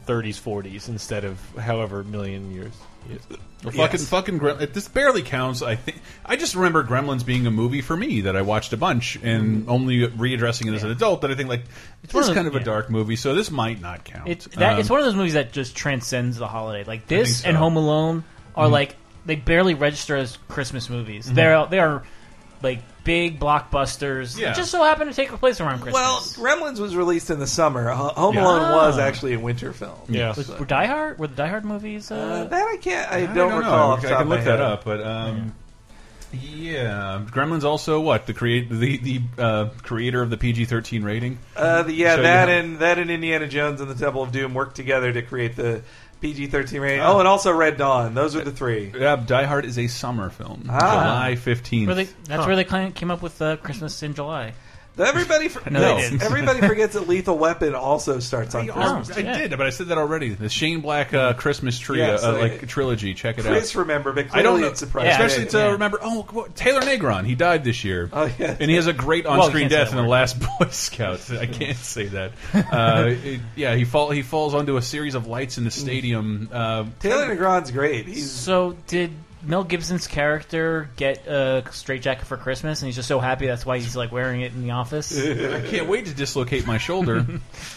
30s, 40s instead of however million years. Well, fucking fucking Gremlins. This barely counts. I think I just remember Gremlins being a movie for me that I watched a bunch Mm-hmm. and only readdressing it as an adult. That I think like it's one of this those- kind of a yeah. dark movie, so this might not count. It's that, Um, it's one of those movies that just transcends the holiday. Like think this so. and Home Alone are Mhm. Mm-hmm. like they barely register as Christmas movies. Mhm. They're they are like big blockbusters. Yeah. that Just so happen to take place around Christmas. Well, Gremlins was released in the summer. Ho- Home Yeah. Alone was Ah. actually a winter film. Was- were Die Hard were the Die Hard movies? Uh, that I can't. I, I don't know. recall. I, off the can- I can top of look my that head. up, but um, yeah. Gremlins also what the create the the uh, creator of the PG thirteen rating. Uh, the, yeah, So you that have- and that and Indiana Jones and the Temple of Doom worked together to create the PG thirteen rating. Ah. Oh, and also Red Dawn. Those are the three. Yeah, Die Hard is a summer film. Ah. July fifteenth. Where they, that's where they kind of came up with uh, Christmas in July. Everybody, for, I know no, they Oh, did. everybody forgets that Lethal Weapon also starts on Christmas. I did, but I said that already. The Shane Black uh, Christmas tree, Yeah, uh, so uh, like trilogy. Check it out. Chris remembered, but I don't clearly know, it's a prize. especially Yeah. to Yeah. remember. Oh, what, Taylor Negron, he died this year. Oh, yeah. and he has a great Well, you on-screen can't say death that in the word. last Boy Scout. I can't say that. Uh, it- yeah, he fall he falls onto a series of lights in the stadium. Uh, Taylor Negron's great. So did Mel Gibson's character get a straitjacket for Christmas, and he's just so happy that's why he's like wearing it in the office? I can't wait to dislocate my shoulder.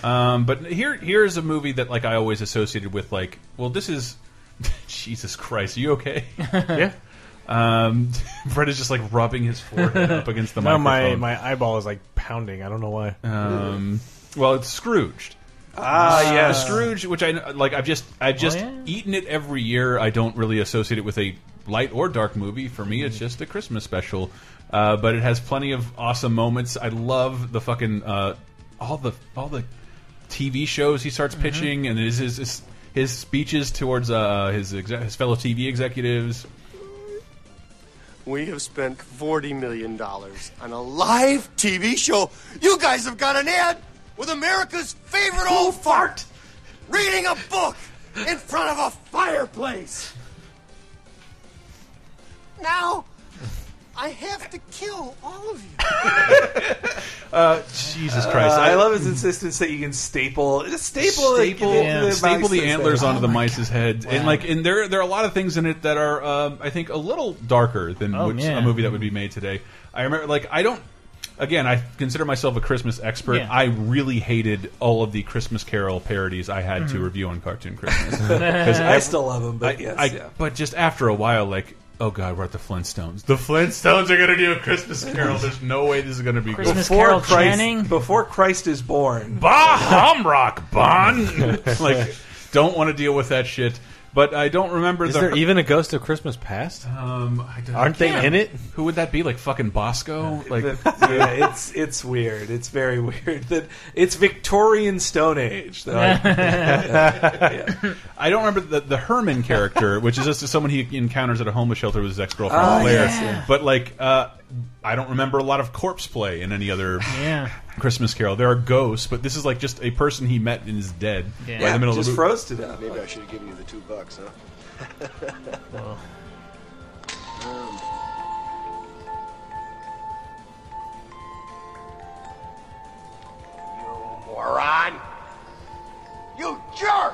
um, but here, here is a movie that like I always associated with like, well, this is Jesus Christ. Are you okay? yeah. Um, Brett is just like rubbing his forehead up against the no, my microphone. my eyeball is like pounding. I don't know why. Um, well, it's Scrooged. Ah, Uh, yes. Scrooge, which I like. I've just I've just eaten it every year. I don't really associate it with a light or dark movie. For me, it's just a Christmas special. Uh, but it has plenty of awesome moments. I love the fucking uh, all the all the TV shows he starts pitching and his his, his, his speeches towards uh, his exe- his fellow TV executives. We have spent $40 million on a live TV show. You guys have got an ad with America's favorite old fart reading a book in front of a fireplace. Now, I have to kill all of you. Uh, Jesus Christ! Uh, I love his insistence that you can staple, just staple, it, staple, give it to the staple the mice antlers instead. onto the mice's head, and like, and there there are a lot of things in it that are, um, I think, a little darker than Oh, which, yeah. a movie that would be made today. I remember, like, I don't. Again, I consider myself a Christmas expert. Yeah. I really hated all of the Christmas Carol parodies I had to Mhm. review on Cartoon Christmas. 'Cause I ev- still love him, but I- yes, I- yeah. but just after a while, like, oh god, we're at the Flintstones. The Flintstones are going to do a Christmas Carol. There's no way this is going to be good. Christ, Before Christ is born. Bah Hamrock Bon. like, don't want to deal with that shit. But I don't remember. Is the, there even a Ghost of Christmas Past? Um, I don't, Aren't they in it? Who would that be? Like fucking Bosco? Like yeah, it's it's weird. It's very weird that it's Victorian Stone Age. They're like- I don't remember the, the Herman character, which is just someone he encounters at a homeless shelter with his ex girlfriend Oh, Claire. yes, yeah. But like, uh, I don't remember a lot of corpse play in any other Yeah. Christmas Carol. There are ghosts, but this is like just a person he met and is dead Yeah. by the middle just of the movie. froze to death. Maybe I should have given you the two bucks, huh? Um, You moron! You jerk!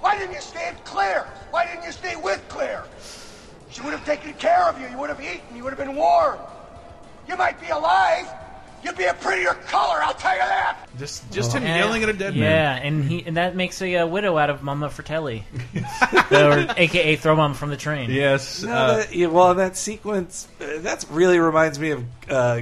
Why didn't you stay at Claire? Why didn't you stay with Claire? She would have taken care of you. You would have eaten. You would have been warm. You might be alive. You'd be a prettier color, I'll tell you that. Just, just him And- yelling at a dead yeah, man. and he and that makes a uh, widow out of Mama Fratelli, or AKA Throw Mom from the Train. Yes, uh, No, that, yeah, well, that sequence uh, that really reminds me of uh,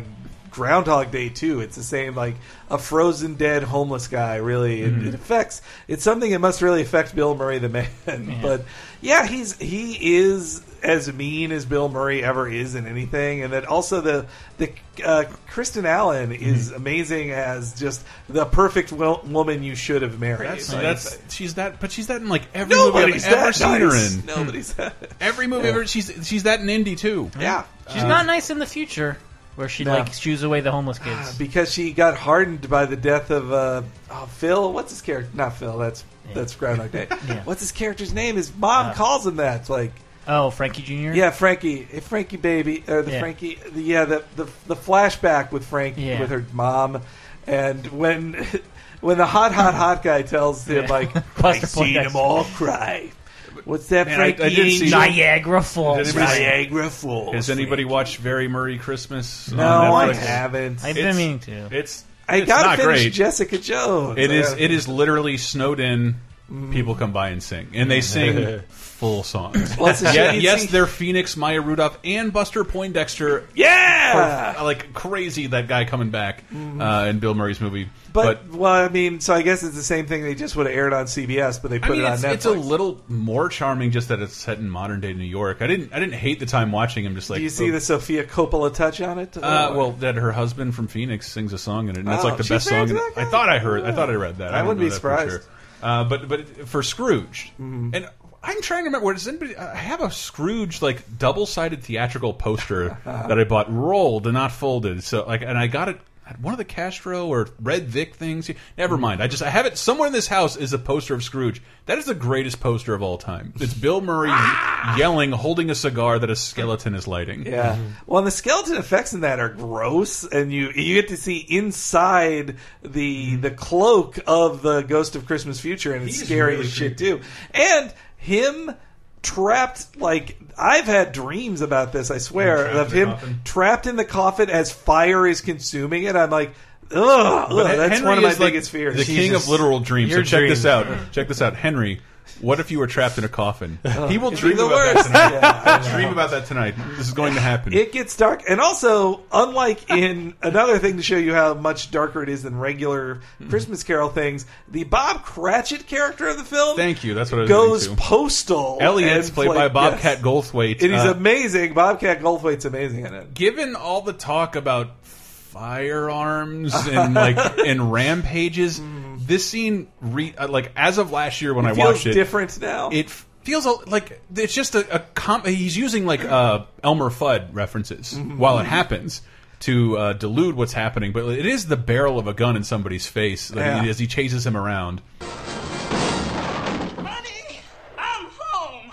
Groundhog Day too. It's the same, like a frozen dead homeless guy. Really, it, Mm-hmm. Mhm. it affects. It's something that must really affect Bill Murray the man. But yeah, he's he is as mean as Bill Murray ever is in anything, and then also the the uh, Kristen Allen Mm-hmm. is amazing as just the perfect wo- woman you should have married. That's, Like, that's she's that, but she's that in like every Nobody's movie I've ever that seen nice. her in. Nobody's that. Every movie ever, she's she's that in indie too. Yeah, she's not nice in the future, where she No. like shoos away the homeless kids. because she got hardened by the death of uh, oh, Phil. What's his character? Not Phil. That's that's Groundhog Day. What's his character's name? His mom calls him that. It's Like oh, Frankie Uh, Junior. Yeah, Frankie. Hey, Frankie baby. Or the Yeah. Frankie. The, yeah, the, the the flashback with Frankie Yeah. with her mom, and when when the hot hot hot guy tells him Yeah. like I Buster seen Poindexter. them all cry. What's that, Man, I- Frankie? I did see- Angel? Niagara Falls. Did anybody- Niagara Falls. Has anybody watched Very Murray Christmas? on No, I Netflix? haven't. I've It's- been meaning to. It's I it's gotta not finish great. Jessica Jones. It is. Uh, It is literally snowed in. People come by and sing, and they sing full songs. Well, it's a Yeah, shame you yes, see- they're Phoenix, Maya Rudolph, and Buster Poindexter. Yeah! Mm-hmm. For- like crazy that guy coming back uh, in Bill Murray's movie. But, well, I mean, so I guess it's the same thing. They just would have aired on CBS, but they I put mean, it on it's, Netflix. it's a little more charming just that it's set in modern day New York. I didn't. I didn't hate the time watching. I'm just like, Do you see oh. the Sophia Coppola touch on it? Uh, well, that her husband from Phoenix sings a song in it, and that's Oh, like the she best sang song. to in- that Oh. I thought I heard. I thought I read that. I don't wouldn't know be that for surprised. Mm-hmm. sure. Uh, but but for Scrooge, and I'm trying to remember. Does anybody? I have a Scrooge like double sided theatrical poster that I bought rolled and not folded. So like, and I got it at one of the Castro or Red Vic things. Never Mm-hmm. mind. I just I have it somewhere in this house is a poster of Scrooge. That is the greatest poster of all time. It's Bill Murray yelling, holding a cigar that a skeleton is lighting. Yeah. Well, and the skeleton effects in that are gross, and you you get to see inside Mm-hmm. the the cloak of the Ghost of Christmas Future, and it's He's scary really as shit too. And him trapped like I've had dreams about this. I swear Trapped of in the him coffin. trapped in the coffin as fire is consuming it. I'm like. Ugh, But ugh, that's Henry one of my is, like, biggest fears. The king of Jesus. literal dreams. So Your check this dreams. out. Check this out, Henry. What if you were trapped in a coffin? he will it'd dream be the about worst. that tonight. Yeah, I know. dream about that tonight. This is going to happen. It gets dark, and also, unlike in another thing to show you how much darker it is than regular Hmm. Christmas Carol things, the Bob Cratchit character of the film Thank you. That's what I was goes getting to. postal. Elliot's and played play- by Bobcat yes. Goldthwait. And he's Uh, amazing. Bobcat Goldthwait's amazing in it. given all the talk about firearms and like and rampages, this scene re uh, like as of last year when It I feels watched it, different now. It f- feels a- like it's just a, a com he's using like uh, Elmer Fudd references Mm-hmm. while it happens. To uh, delude what's happening, but it is the barrel of a gun in somebody's face like, Yeah. as he chases him around. I'm home.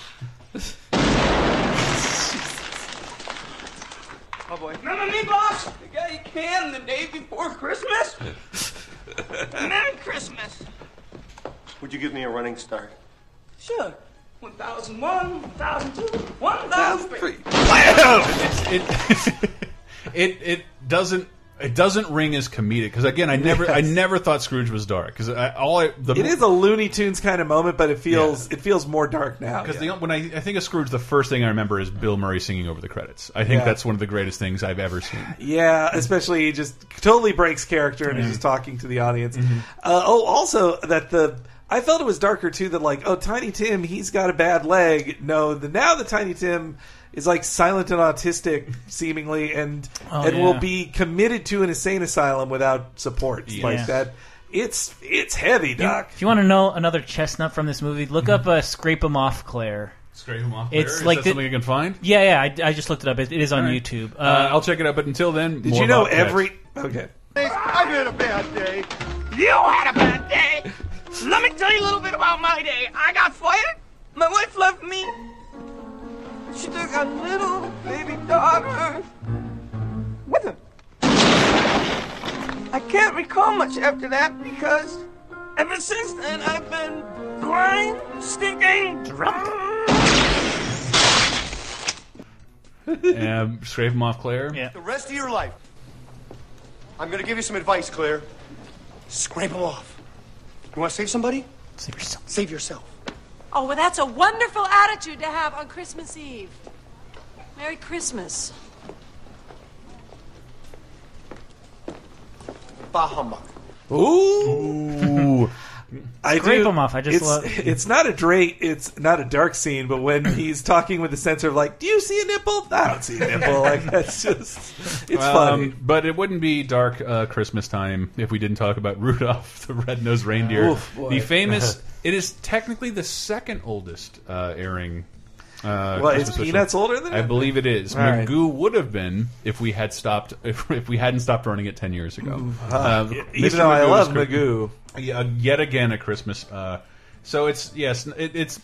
Oh boy. Remember me, Box? The guy you canned the day before Christmas? Merry Christmas. Would you give me a running start? Sure. 1001, 1002, 1003. it it it doesn't it doesn't ring as comedic because again I never I never thought Scrooge was dark because all I, the It is a Looney Tunes kind of moment, but it feels it feels more dark now. because when I, I think of Scrooge the first thing I remember is Bill Murray singing over the credits I think Yeah. that's one of the greatest things I've ever seen Yeah, especially he just totally breaks character and is just talking to the audience. Uh, oh, also that the I felt it was darker too. That like, oh, Tiny Tim, he's got a bad leg. No, the now the Tiny Tim is like silent and autistic, seemingly, and Oh, and will yeah. be committed to an insane asylum without support. Yeah. Like that, it's it's heavy, You- Doc. If you want to know another chestnut from this movie, look up uh, "Scrape 'Em Off, Claire." Scrape 'Em Off, Claire? It's Is like that something you can find. Yeah, yeah. I, I just looked it up. It, it is on All right. YouTube. Uh, I'll check it out. But until then, Did more you know Bobcats. every- Okay. I've had a bad day. You had a bad day. Let me tell you a little bit about my day. I got fired. My wife left me. She took a little baby daughter with her. I can't recall much after that because ever since then I've been blind, stinking drunk. um, scrape him off Claire yeah The rest of your life, I'm going to give you some advice, Claire. Scrape them off. You want to save somebody? Save yourself. Save yourself. Oh, well, that's a wonderful attitude to have on Christmas Eve. Merry Christmas. Bah humbug. Ooh. I Scrape do- 'em off. I just it's, love- It's not a great. It's not a dark scene, but when he's talking with the censor of like, "Do you see a nipple? I don't see a nipple." Like that's just. It's funny. Um, but it wouldn't be dark uh, Christmas time if we didn't talk about Rudolph the Red-Nosed Reindeer, Oof, boy. the famous. it is technically the second oldest uh, airing. Uh, Well, is Christmas special. Peanuts older than I it? believe it is. All right. Magoo would have been if we had stopped if, if we hadn't stopped running it ten years ago. Uh, even though I love Magoo. yeah, uh, yet again a Christmas. Uh, so it's yes, it, it's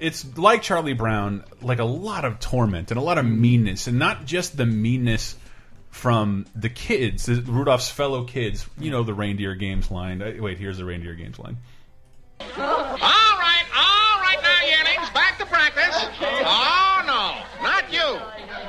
it's like Charlie Brown, like a lot of torment and a lot of Mm-hmm. meanness, and not just the meanness from the kids, Rudolph's fellow kids. You Mm. know the reindeer games line. Uh, Wait, here's the reindeer games line. All right, all right now, yearlings, back to practice. Oh, no, not you.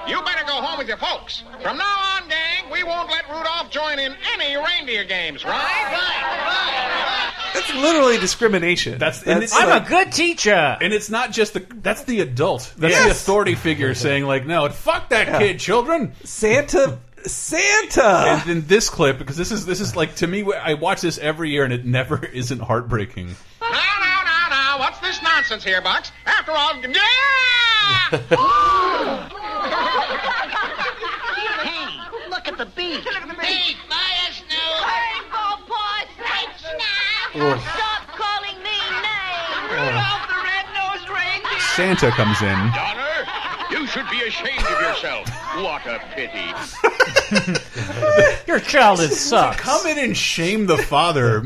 You better go home with your folks. From now on, gang, we won't let Rudolph join in any reindeer games, right? That's literally discrimination. That's, and it's- I'm a good teacher, and it's not just the that's the adult, that's the Yes. authority figure saying like, no, fuck that Yeah. kid, children. Santa, Santa. And then this clip because this is this is like to me, I watch this every year and it never isn't heartbreaking. Now, now, now, what's this nonsense here, Bucks? After all, yeah! Hey, look at the beach. Hey, fire snow. Hey, ball boys. Hey, Ugh. Stop calling me Santa comes in. Donner, you should be ashamed of yourself. What a pity. Your child is sucks. Come in and shame the father.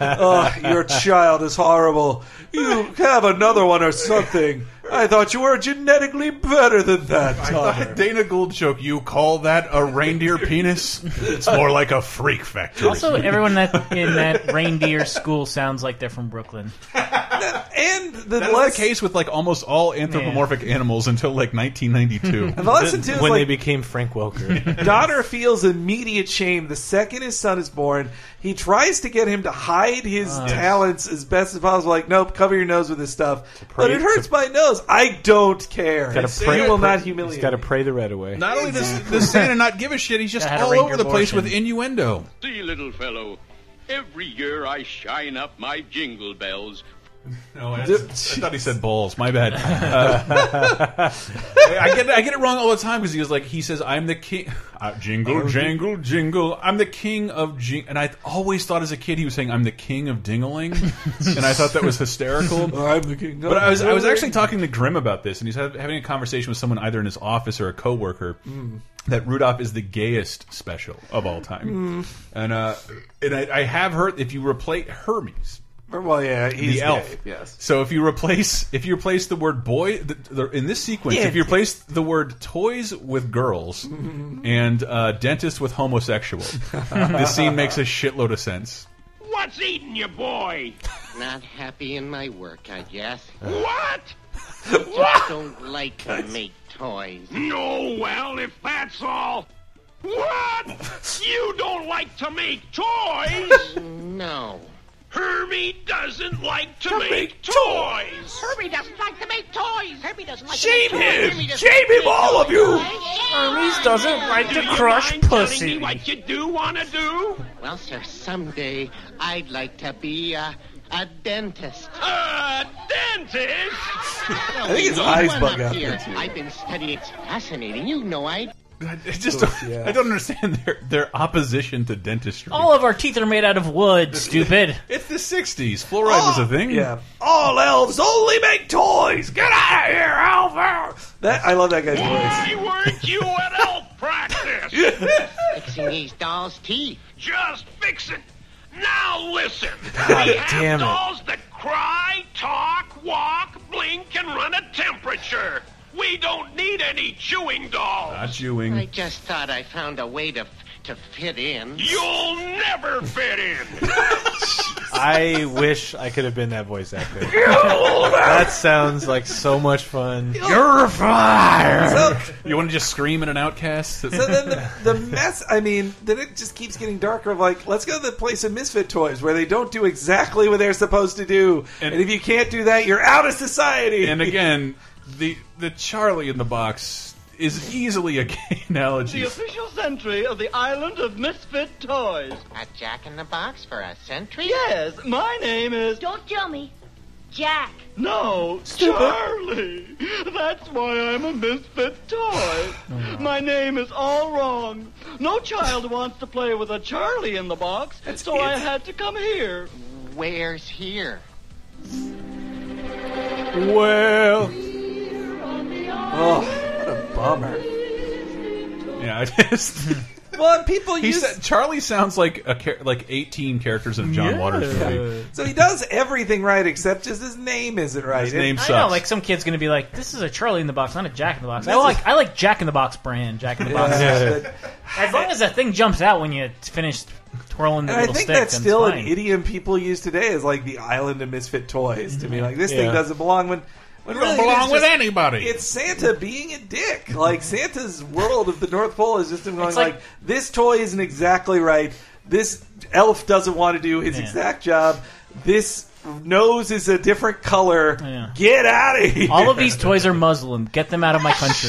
oh, your child is horrible. You have another one or something. I thought you were genetically better than that, Donner. Dana Gould joke. You call that a reindeer penis? It's more like a freak factory. Also, everyone that in that reindeer school sounds like they're from Brooklyn. and the That was the case with like almost all anthropomorphic animals until like 1992. And the lesson, too, is when they like- became Frank Welker. Donner feels immediate shame the second his son is born. He tries to get him to hide his Ah. talents as best as possible. Like, nope, cover your nose with this stuff. but it it's hurts my nose. I don't care. Gotta It's- pray- you will not he's humiliate. Got to pray the red away. Not only does, does Santa not give a shit, he's just Gotta have all a over the place abortion. with innuendo. See, little fellow, every year I shine up my jingle bells. Oh, No, Oh, I, I thought he said balls. My bad. Uh, I get I get it wrong all the time because he was like he says I'm the king. Uh, Oh, jingle jangle jingle. I'm the king of jing. And I always thought as a kid he was saying I'm the king of dingling, and I thought that was hysterical. I'm the king of But I was I was dingling. actually talking to Grimm about this, and he's hav- having a conversation with someone either in his office or a coworker Mm. that Rudolph is the gayest special of all time. Mm. And uh, and I, I have heard if you replace Hermes, Well, yeah, he's the elf. gay, yes. So if you replace if you replace the word boy the, the, in this sequence, Yeah. if you replace the word toys with girls Mm-hmm. and uh, dentist with homosexual, this scene makes a shitload of sense. What's eating you, boy? Not happy in my work, I guess. What? Just don't like to make toys. No, well, if that's all. What? You don't like to make toys? No. Hermie doesn't like to, make, toys. Herbie doesn't like to make toys. Herbie doesn't like Shame to make toys. him! Herbie doesn't Shame like him, all of you! Hermes doesn't like to crush pussy. what you do want to do? Well, sir, someday I'd like to be a, a dentist. A dentist? I think his eyes bug out there, too. I've been studying. It's fascinating. You know I. I just I don't understand their their opposition to dentistry. All of our teeth are made out of wood. Stupid. It's the '60s. Fluoride was a thing. Ah, Yeah. All elves only make toys. Get out of here, Alvar. That I love that guy's voice. weren't you at elf practice? Fixing these dolls' teeth. Just fix it. Now listen. God we have damn it. dolls that cry, talk, walk, blink, and run a temperature. We don't need any chewing dolls. Not chewing. I just thought I found a way to to fit in. You'll never fit in. I wish I could have been that voice actor. that sounds like so much fun. You're fired. So- you want to just scream at an outcast? So then the, the mess. I mean, then it just keeps getting darker. Of like, let's go to the place of misfit toys where they don't do exactly what they're supposed to do. And, if you can't do that, you're out of society. and again, the the Charlie in the box is easily a gay analogy. The official sentry of the island of misfit toys. A jack in the box for a sentry? Yes, my name is. Don't tell me. Jack. No, Stupid. Charlie. That's why I'm a misfit toy. My name is all wrong. No child wants to play with a Charlie in the box, so I it's- had to come here. Where's here? Well. Oh, what a bummer. Yeah, I just. Well, and people He use said Charlie sounds like a char- like eighteen characters in a John Waters movie. So he does everything right, except just his name isn't right. His name I know, like some kid's gonna be like, "This is a Charlie in the Box, not a Jack in the Box." I This is- like, I like Jack in the Box brand, Jack in the Box. Yeah. As long as that thing jumps out when you finish twirling and the I little think stick, that's then still it's an idiom people use today is like the island of misfit toys. To me, like this Mm-hmm. Yeah. thing doesn't belong when. When It don't really it belong is with just- anybody. It's Santa being a dick. Like Santa's world of the North Pole is just him going Mm-hmm. like, It's like- this toy isn't exactly right. This elf doesn't want to do his exact job. This nose is a different color. Get out of here. fine. All of these toys are Muslim. Get them out of my country.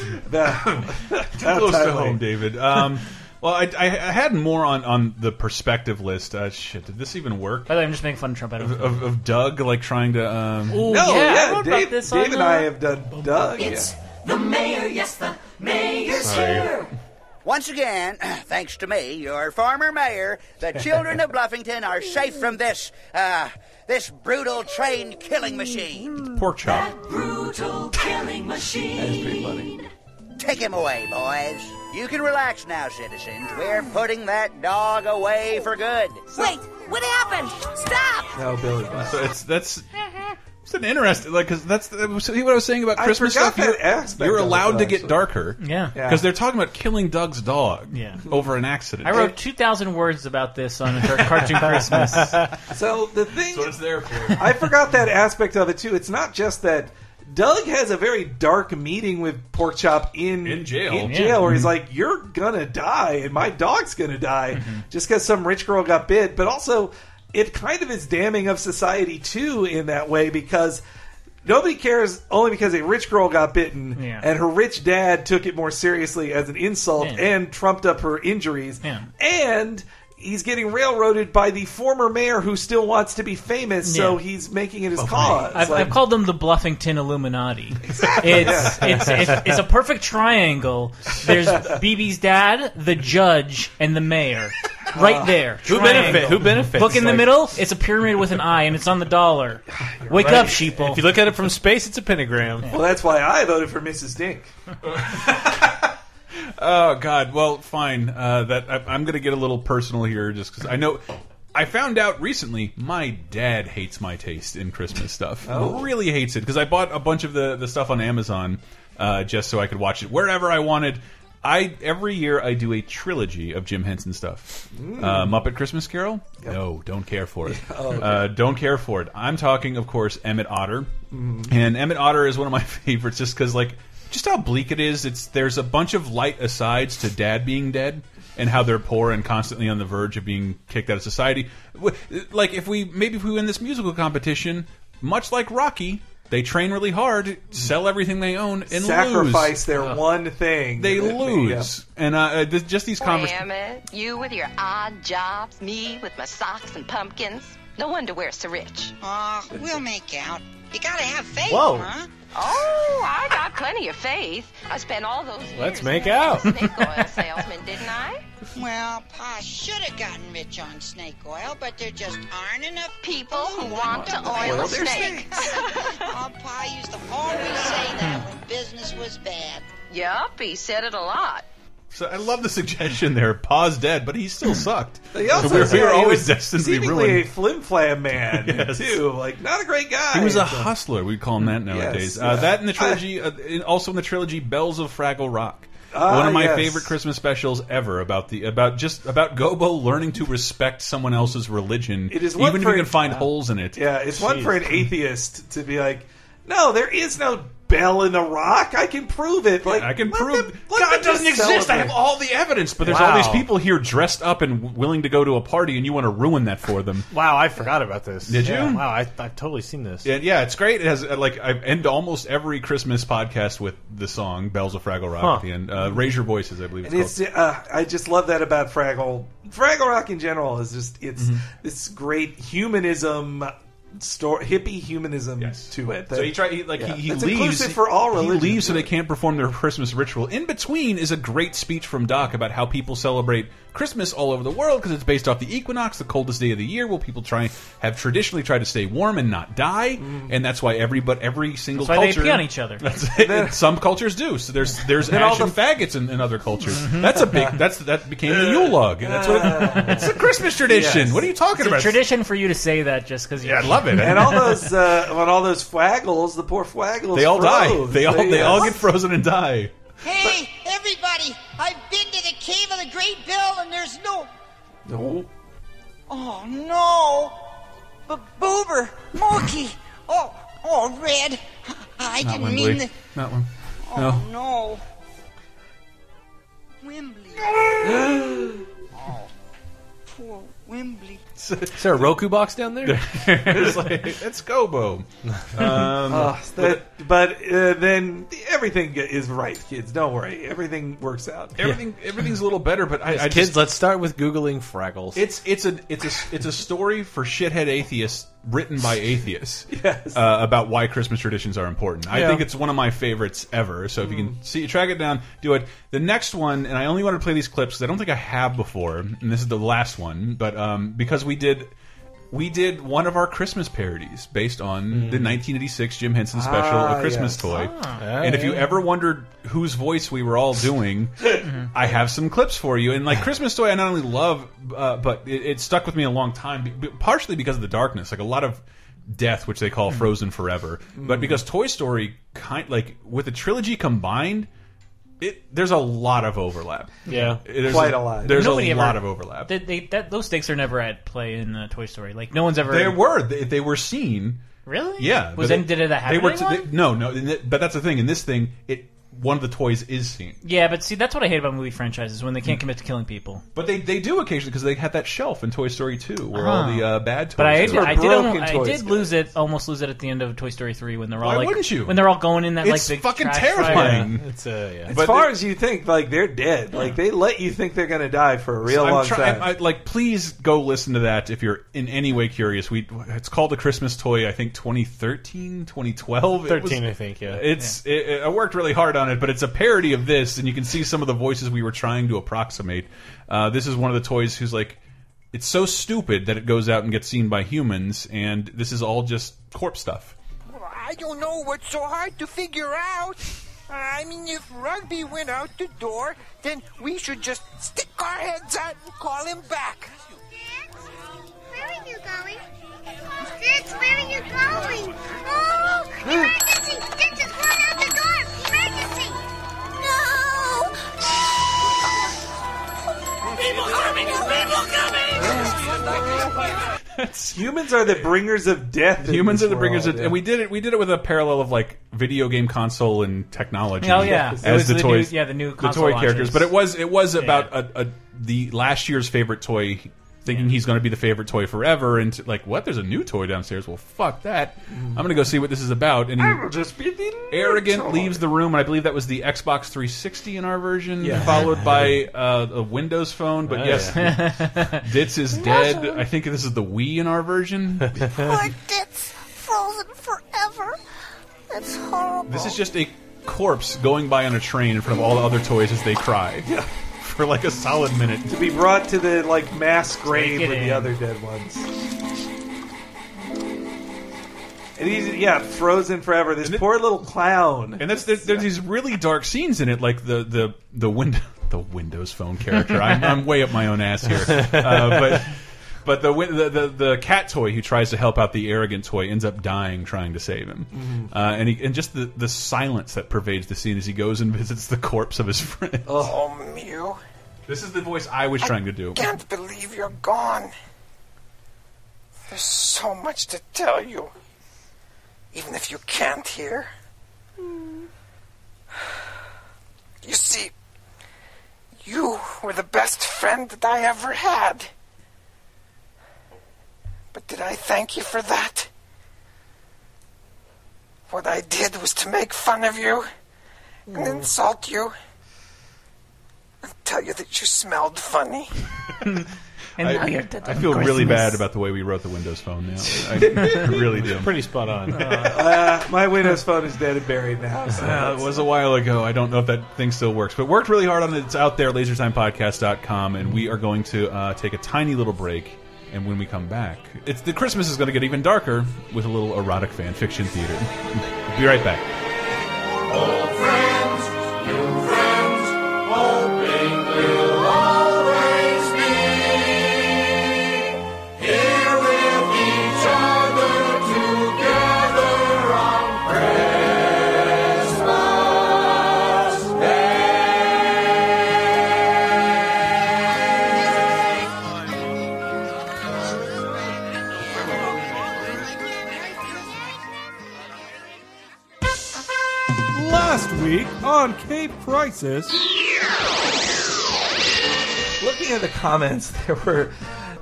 Too close to home, David. Um, well, I, I, I had more on, on the perspective list. Uh, shit, did this even work? By the way, I'm just making fun of Trump. I don't Of, of, of Doug, like trying to. Um... Ooh, No, yeah, I yeah, wrote about Dave, this Dave on, and uh, I have done Doug. yeah. The mayor, yes, the mayor's Sorry. here. Once again, thanks to me, your former mayor, the children of Bluffington are safe from this, uh, this brutal train killing machine. Pork chop. Brutal killing That's machine. pretty funny. Take him away, boys. You can relax now, citizens. We're putting that dog away for good. Wait, what happened? Stop! No, Billy. So it's that's. It's an interesting, like, because that's uh, the, see what I was saying about I Christmas forgot stuff. that you're, aspect you're of it, allowed to get actually. darker, Yeah. Yeah. because they're talking about killing Doug's dog, Yeah. over an accident. I wrote 2,000 words about this on Car- Cartoon Christmas. So the thing is, there for. I forgot that aspect of it too. It's not just that Doug has a very dark meeting with Porkchop in in jail. in Yeah. jail, where Mm-hmm. he's Mhm. like, "You're gonna die, and my dog's gonna die Mm-hmm. just because some rich girl got bit." But also, it kind of is damning of society too in that way because. Nobody cares only because a rich girl got bitten Yeah. and her rich dad took it more seriously as an insult Yeah. and trumped up her injuries. Yeah. And he's getting railroaded by the former mayor who still wants to be famous, so Yeah. he's making Oh, it his cause. I've, Like, I've called them the Bluffington Illuminati. It's, yeah. it's, it's, it's a perfect triangle. There's BB's dad, the judge, and the mayor. Right Uh, there. who Triangle. benefit- who benefits? Look in the Like- middle. It's a pyramid with an eye, and it's on the dollar. Wake right. up, sheeple. If you look at it from space, it's a pentagram. well, that's why I voted for Mrs. Dink. Oh God! Well, fine. Uh, that I, I'm going to get a little personal here, just because I know. I found out recently my dad hates my taste in Christmas stuff. Oh. Really hates it because I bought a bunch of the the stuff on Amazon uh, just so I could watch it wherever I wanted. I every year I do a trilogy of Jim Henson stuff. Mm. Uh, Muppet Christmas Carol? No, don't care for it. Oh, okay. uh, don't care for it. I'm talking, of course, Emmett Otter. Mhm. And Emmett Otter is one of my favorites just because, like, just how bleak it is. It's There's a bunch of light asides to dad being dead and how they're poor and constantly on the verge of being kicked out of society. W- Like, if we maybe if we win this musical competition, much like Rocky, they train really hard, sell everything they own, and Sacrifice lose. their one thing. They that lose. And uh, th- just these conversations. Damn it. You with your odd jobs, me with my socks and pumpkins. No wonder we're so rich. Aw, we'll make out. You gotta have faith, Whoa. huh? Oh, I got plenty of faith. I spent all those Let's years make marrying out. snake oil salesman, didn't I? Well, Pa should have gotten rich on snake oil, but there just aren't enough people who want to oil oil their snakes. oh, Pa used to always say that when business was bad. Yup, he said it a lot. So I love the suggestion there. Pa's dead, but he still sucked. They also we were, said we were he always was destined to be seemingly ruined. a flim flam man Yes. too. Like not a great guy. He was a So- hustler. We'd call him Mm, that nowadays. uh, yeah. That in the trilogy, uh, in, also in the trilogy, Bells of Fraggle Rock. Ah, One of my yes. favorite Christmas specials ever about the about just about Gobo learning to respect someone else's religion, It is one even if for you can find yeah. holes in it. Yeah, it's one for an atheist to be like, no, there is no bell in the rock. I can prove it. Like I can let prove them- let God them just doesn't exist. I celebrate. have all the evidence, but there's all these people here dressed up and w- willing to go to a party, and you want to ruin that for them. Wow, I forgot about this. Did Yeah, you? Wow, I, I've totally seen this. Yeah, yeah, it's great. It has uh, like I end almost every Christmas podcast with the song "Bells of Fraggle Rock" Huh. at the end. Uh, Raise your voices, I believe it's, And called. it's uh, I just love that about Fraggle. Fraggle Rock in general is just it's Mm-hmm. this great humanism, story, hippie humanism to it. So he try he, like he, he it's leaves inclusive for all religions. He leaves so they can't perform their Christmas ritual. In between is a great speech from Doc about how people celebrate Christmas all over the world because it's based off the equinox, the coldest day of the year, where people try have traditionally tried to stay warm and not die, Mm-hmm. and that's why every but every single That's why they culture pee on each other. That's it. And some cultures do. So there's there's Then ash all and faggots in, in other cultures. Mm-hmm. That's a big. That's that became the Yule log. That's what. It, it's a Christmas tradition. Yes. What are you talking It's a about? tradition for you to say that just because you. Yeah, I love it. and all those uh, when all those Fraggles, the poor Fraggles, They all die. froze. They all they all uh, get frozen and die. Hey, everybody! I've been to the cave of the Great Bell, and there's no. No. Oh no! But Boober, Mookie, oh, oh, Red. I Not didn't one, mean Blake. the. Not one. Oh no. Wembley. No. Poor Wembley. Is there a Roku box down there? it's like, it's Gobo. Um, that, but uh, then everything is right, kids. Don't worry, everything works out. Everything everything's a little better, but I, As I kids, just, let's start with googling Fraggles. It's it's a it's a it's a story for shithead atheists written by atheists uh, about why Christmas traditions are important. I Yeah. Mm. think it's one of my favorites ever. So if you can see track it down, do it. The next one, and I only want to play these clips because I don't think I have before, and this is the last one. But um, because we did. We did one of our Christmas parodies based on the 1986 Jim Henson special, Mm. Ah, A Christmas yes. Toy. Ah. and if you Yeah. ever wondered whose voice we were all doing, Mm-hmm. I have some clips for you. And like Christmas Toy, I not only love, uh, but it, it stuck with me a long time, b- b- partially because of the darkness, like a lot of death, which they Mm-hmm. call Frozen Forever, but because Toy Story kind like with the trilogy combined. It, there's a lot of overlap. Yeah. There's Quite a lot. There's Nobody a ever- lot of overlap. They, they, that, those stakes are never at play in uh, Toy Story. Like no one's ever. They were. They, they were seen. Really? Yeah. Was but any- did it happen They were. in t- one? they- no, no. in th- But that's the thing. In this thing, it one of the toys is seen. Yeah, but see, that's what I hate about movie franchises when they can't commit to killing people. But they, they do occasionally because they had that shelf in Toy Story 2 where all Oh. the uh, bad toys. But I, did, were. I did, almost, I did lose it, almost lose it at the end of Toy Story three when they're all Why like, wouldn't you? when they're all going in that It's like big fucking trash terrifying. fire. It's uh, yeah. As far as you think, like they're dead. Like they let you think they're gonna die for a real I'm long try- time. I- I- like, please go listen to that if you're in any way curious. We it's called the Christmas toy. I think 2013, 2012. It was- 13, I think, yeah. It's It, it- I worked really hard on it, but it's a parody of this, and you can see some of the voices we were trying to approximate. Uh, this is one of the toys who's like, it's so stupid that it goes out and gets seen by humans, and this is all just corpse stuff. I don't know what's so hard to figure out. I mean, if Rugby went out the door, then we should just stick our heads out and call him back. Where are you going? Fritz, where are you going? Oh, emergency! Fritz is going out the door! Emergency! No! People coming! People coming! Humans are the bringers of death. in Humans this are the bringers, world, of, yeah. and we did it. We did it with a parallel of like video game console and technology. Oh, yeah. as It was the, the new- toys, yeah, the new the console toy characters. launches. But it was it was about a, a the last year's favorite toy, thinking he's going to be the favorite toy forever, and t- like what? There's a new toy downstairs. Well, fuck that. I'm going to go see what this is about. And Mm. I will just be the arrogant toy. leaves the room, and I believe that was the Xbox 360 in our version, Yeah. followed by uh, a Windows phone. But Oh, yes, yeah. Ditz is dead. I think this is the Wii in our version. It's frozen forever. That's horrible. This is just a corpse going by on a train in front of all the other toys as they cry. For like a solid minute. to be brought to the like mass grave Take it with the in. other dead ones. And he's yeah frozen forever. This poor little clown. And that's there's, there's these really dark scenes in it, like the the the window the Windows Phone character. I'm, I'm way up my own ass here, uh, but but the, win- the the the cat toy who tries to help out the arrogant toy ends up dying trying to save him, Mhm. uh, and he, and just the the silence that pervades the scene as he goes and visits the corpse of his friend. Oh, Mew. This is the voice I was trying to do. Can't believe you're gone. There's so much to tell you. Even if you can't hear. You see, you were the best friend that I ever had. But did I thank you for that? What I did was to make fun of you and insult you and tell you that you smelled funny. and I, I feel really bad about the way we wrote the Windows Phone now. I really do. Pretty spot on. uh, my Windows Phone is dead and buried now. So Uh, it was a while ago. I don't know if that thing still works, but worked really hard on it. It's out there, lasertimepodcast.com, and we are going to uh, take a tiny little break. And when we come back, it's the Christmas is going to get even darker with a little erotic fan fiction theater. We'll be right back. Last week on Cape Crisis. looking at the comments, there were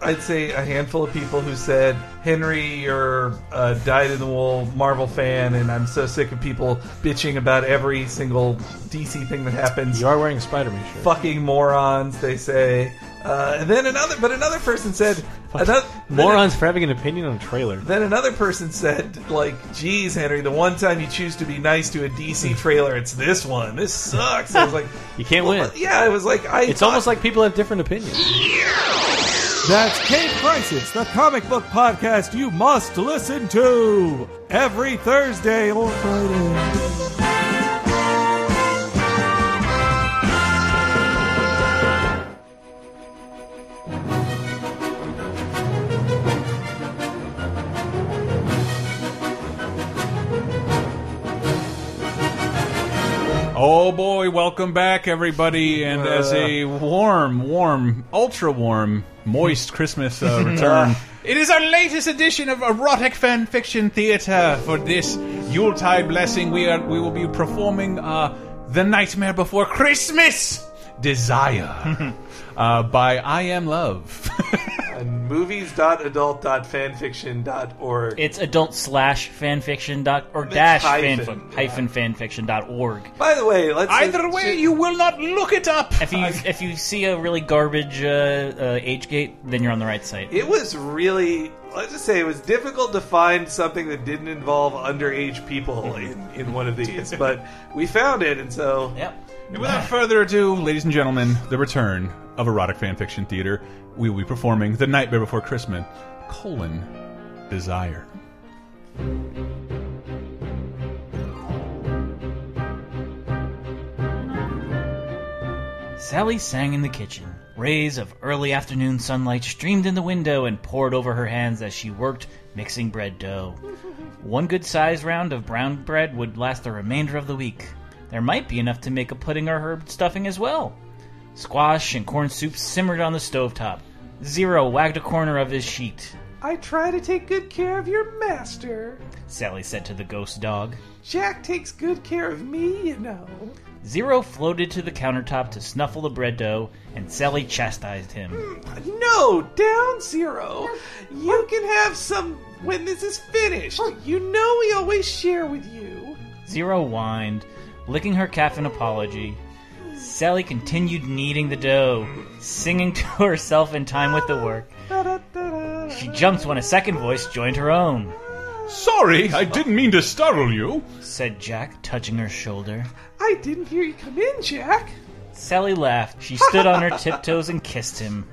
I'd say a handful of people who said, Henry, you're a dyed in the wool Marvel fan, and I'm so sick of people bitching about every single DC thing that happens. You are wearing a Spider Man shirt. Fucking morons, they say. Uh, and then another, but another person said, another, Morons for having an opinion on a trailer. then another person said, like, geez, Henry, the one time you choose to be nice to a DC trailer, it's this one. This sucks. I was like, You can't win. yeah, I was like, I. It's almost like people have different opinions. That's Cape Crisis, the comic book podcast you must listen to every Thursday or Friday. Oh boy, welcome back, everybody. And as a Uh. warm, warm, ultra warm, moist Christmas uh, return, it is our latest edition of Erotic Fan Fiction Theater. For this Yuletide blessing, we, are, we will be performing uh, The Nightmare Before Christmas Desire uh, by I Am Love. movies.adult.fanfiction.org. It's adult slash fanfiction dot or It's dash hyphen. fanfic, hyphen fanfiction dot org. By the way, let's Either way, you will not look it up. If you if you see a really garbage uh, uh, age gate, then you're on the right site. It was really, let's just say, it was difficult to find something that didn't involve underage people Mm-hmm. in, in one of these, but we found it, and so. And without further ado, ladies and gentlemen, the return of erotic fanfiction theater. We will be performing The Nightmare Before Christmas, colon, Desire. Sally sang in the kitchen. Rays of early afternoon sunlight streamed in the window and poured over her hands as she worked mixing bread dough. One good sized round of brown bread would last the remainder of the week. There might be enough to make a pudding or herb stuffing as well. Squash and corn soup simmered on the stovetop. Zero wagged a corner of his sheet, I try to take good care of your master. Sally said to the ghost dog. Jack takes good care of me, you know. Zero floated to the countertop to snuffle the bread dough, and Sally chastised him. No, down zero. You can have some when this is finished. You know we always share with you. Zero whined, licking her calf in apology. Sally continued kneading the dough, singing to herself in time with the work. She jumped when a second voice joined her own. Sorry, I didn't mean to startle you, said Jack, touching her shoulder. I didn't hear you come in, Jack. Sally laughed. She stood on her tiptoes and kissed him.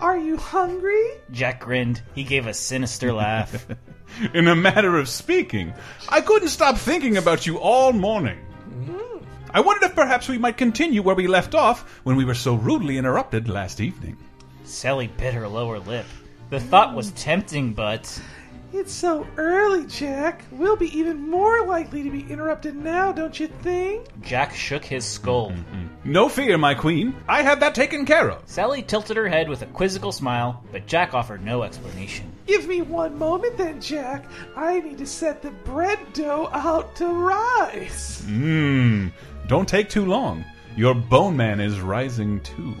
Are you hungry? Jack grinned. He gave a sinister laugh. In a matter of speaking, I couldn't stop thinking about you all morning. Mm. I wondered if perhaps we might continue where we left off when we were so rudely interrupted last evening. Sally bit her lower lip. The thought was tempting, but. It's so early, Jack. We'll be even more likely to be interrupted now, don't you think? Jack shook his skull. Mm-hmm. No fear, my queen. I have that taken care of. Sally tilted her head with a quizzical smile, but Jack offered no explanation. Give me one moment then, Jack. I need to set the bread dough out to rise. Mmm, don't take too long. Your bone man is rising too.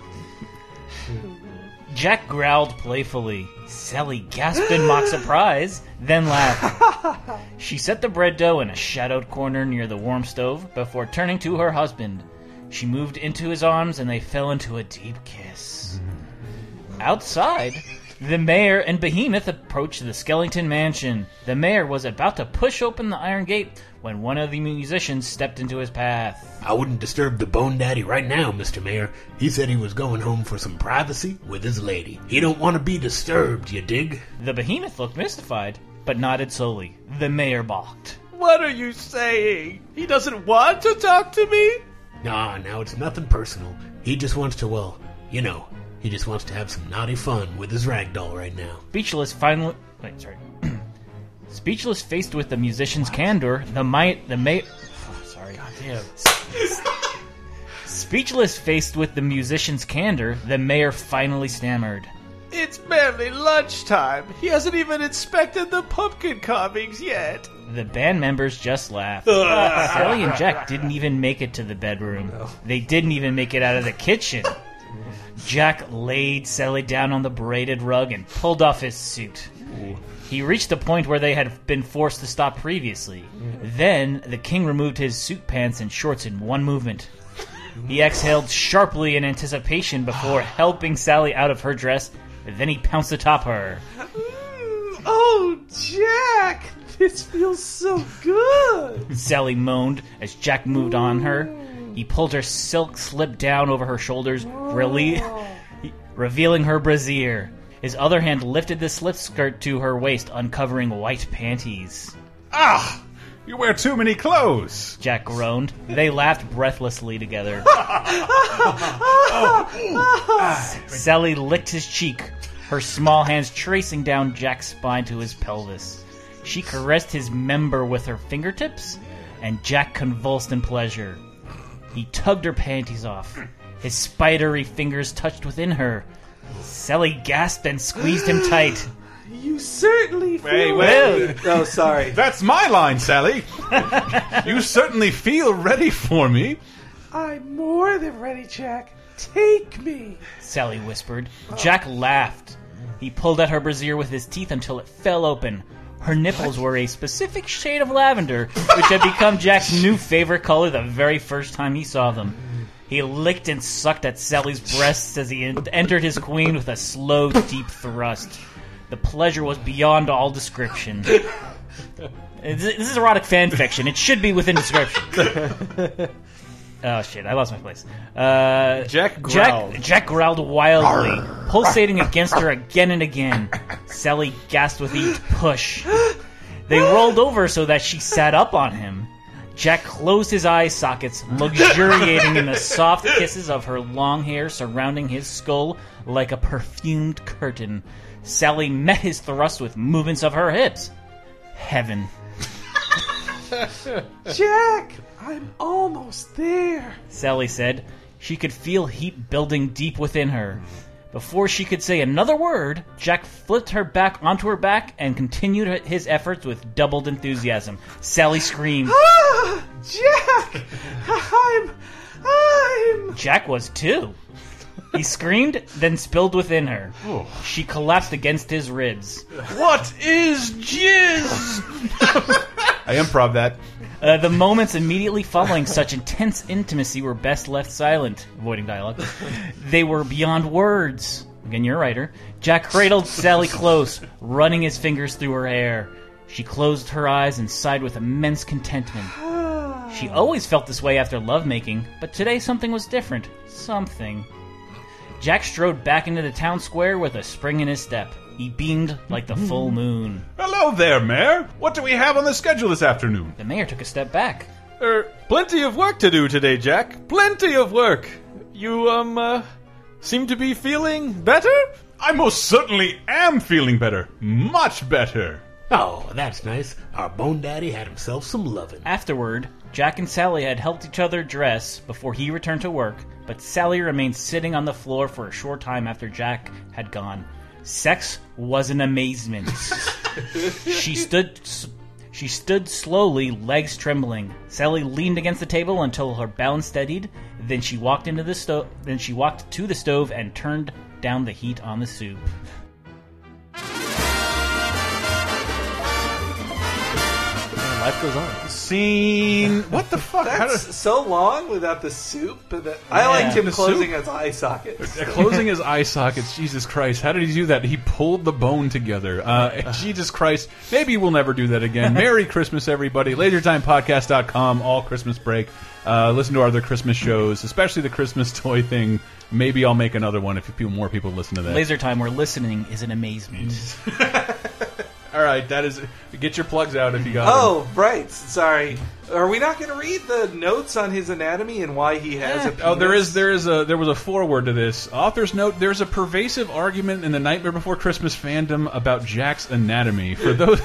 Jack growled playfully. Sally gasped in mock surprise, then laughed. She set the bread dough in a shadowed corner near the warm stove before turning to her husband. She moved into his arms and they fell into a deep kiss. Mm-hmm. Outside, the mayor and Behemoth approached the Skellington mansion. The mayor was about to push open the iron gate when one of the musicians stepped into his path. I wouldn't disturb the Bone Daddy right now, Mr. Mayor. He said he was going home for some privacy with his lady. He don't want to be disturbed, you dig? The Behemoth looked mystified, but nodded slowly. The mayor balked. What are you saying? He doesn't want to talk to me? Nah, now it's nothing personal. He just wants to, well, you know, he just wants to have some naughty fun with his ragdoll right now. Speechless, finally. Wait, sorry. Speechless, faced with the musician's candor, the might, the mayor. Oh, sorry. Goddamn. Speechless, faced with the musician's candor, the mayor finally stammered. It's barely lunchtime. He hasn't even inspected the pumpkin carvings yet. The band members just laughed. Sally and Jack didn't even make it to the bedroom. They didn't even make it out of the kitchen. Jack laid Sally down on the braided rug and pulled off his suit. He reached a point where they had been forced to stop previously. Then the king removed his suit pants and shorts in one movement. He exhaled sharply in anticipation before helping Sally out of her dress. Then he pounced atop her. Oh, Jack, this feels so good. Sally moaned as Jack moved on her. He pulled her silk slip down over her shoulders, really revealing her brassiere. His other hand lifted the slip skirt to her waist, uncovering white panties. Ah! You wear too many clothes! Jack groaned. They laughed breathlessly together. Sally licked his cheek, her small hands tracing down Jack's spine to his pelvis. She caressed his member with her fingertips, and Jack convulsed in pleasure. He tugged her panties off. His spidery fingers touched within her. Sally gasped and squeezed him tight. You certainly feel Hey, well. wait. Oh, No, sorry. That's my line, Sally. you certainly feel ready for me. I'm more than ready, Jack. Take me. Sally whispered. Jack laughed. He pulled at her brassiere with his teeth until it fell open. Her nipples were a specific shade of lavender, which had become Jack's new favorite color the very first time he saw them. He licked and sucked at Sally's breasts as he en- entered his queen with a slow, deep thrust. The pleasure was beyond all description. This this is erotic fan fiction. It should be within description. oh shit! I lost my place. Uh, Jack growled. Jack, growled wildly, pulsating against her again and again. Sally gasped with each push. They rolled over so that she sat up on him. Jack closed his eye sockets, luxuriating in the soft kisses of her long hair surrounding his skull like a perfumed curtain. Sally met his thrust with movements of her hips. Heaven. Jack, I'm almost there. Sally said. She could feel heat building deep within her. Before she could say another word, Jack flipped her back onto her back and continued his efforts with doubled enthusiasm. Sally screamed. Ah, Jack, I'm, I'm. Jack was too. He screamed, then spilled within her. She collapsed against his ribs. What is jizz? I improv that. Uh, the moments immediately following such intense intimacy were best left silent, avoiding dialogue. They were beyond words. Again, you're a writer. Jack cradled Sally close, running his fingers through her hair. She closed her eyes and sighed with immense contentment. Ah. She always felt this way after lovemaking, but today something was different. Something. Jack strode back into the town square with a spring in his step. He beamed like the full Mm-hmm. moon. Hmm. Hello there, Mayor. What do we have on the schedule this afternoon? The mayor took a step back. Er, plenty of work to do today, Jack. Plenty of work. You um uh, seem to be feeling better. I most certainly am feeling better. Much better. Oh, that's nice. Our bone daddy had himself some lovin'. Afterward, Jack and Sally had helped each other dress before he returned to work, but Sally remained sitting on the floor for a short time after Jack had gone. Sex was an amazement. she stood she stood slowly, legs trembling. Sally leaned against the table until her balance steadied, then she walked into the stove then she walked to the stove and turned down the heat on the soup. Life goes on. Scene. What the fuck? How That's so long without the soup. But that, I Yeah. liked him The closing soup? his eye sockets. Closing his eye sockets. Jesus Christ. How did he do that? He pulled the bone together. Uh, Jesus Christ. Maybe we'll never do that again. Merry Christmas, everybody. LaserTimePodcast.com, all Christmas break. Uh, listen to our other Christmas shows, especially the Christmas toy thing. Maybe I'll make another one if people, more people listen to that. Laser time where listening is an amazement. All right, that is. Get your plugs out if you got Oh, right. Sorry. Are we not going to read the notes on his anatomy and why he has a Oh, there penis? is there is a there was a foreword to this author's note. There's a pervasive argument in the Nightmare Before Christmas fandom about Jack's anatomy. For those,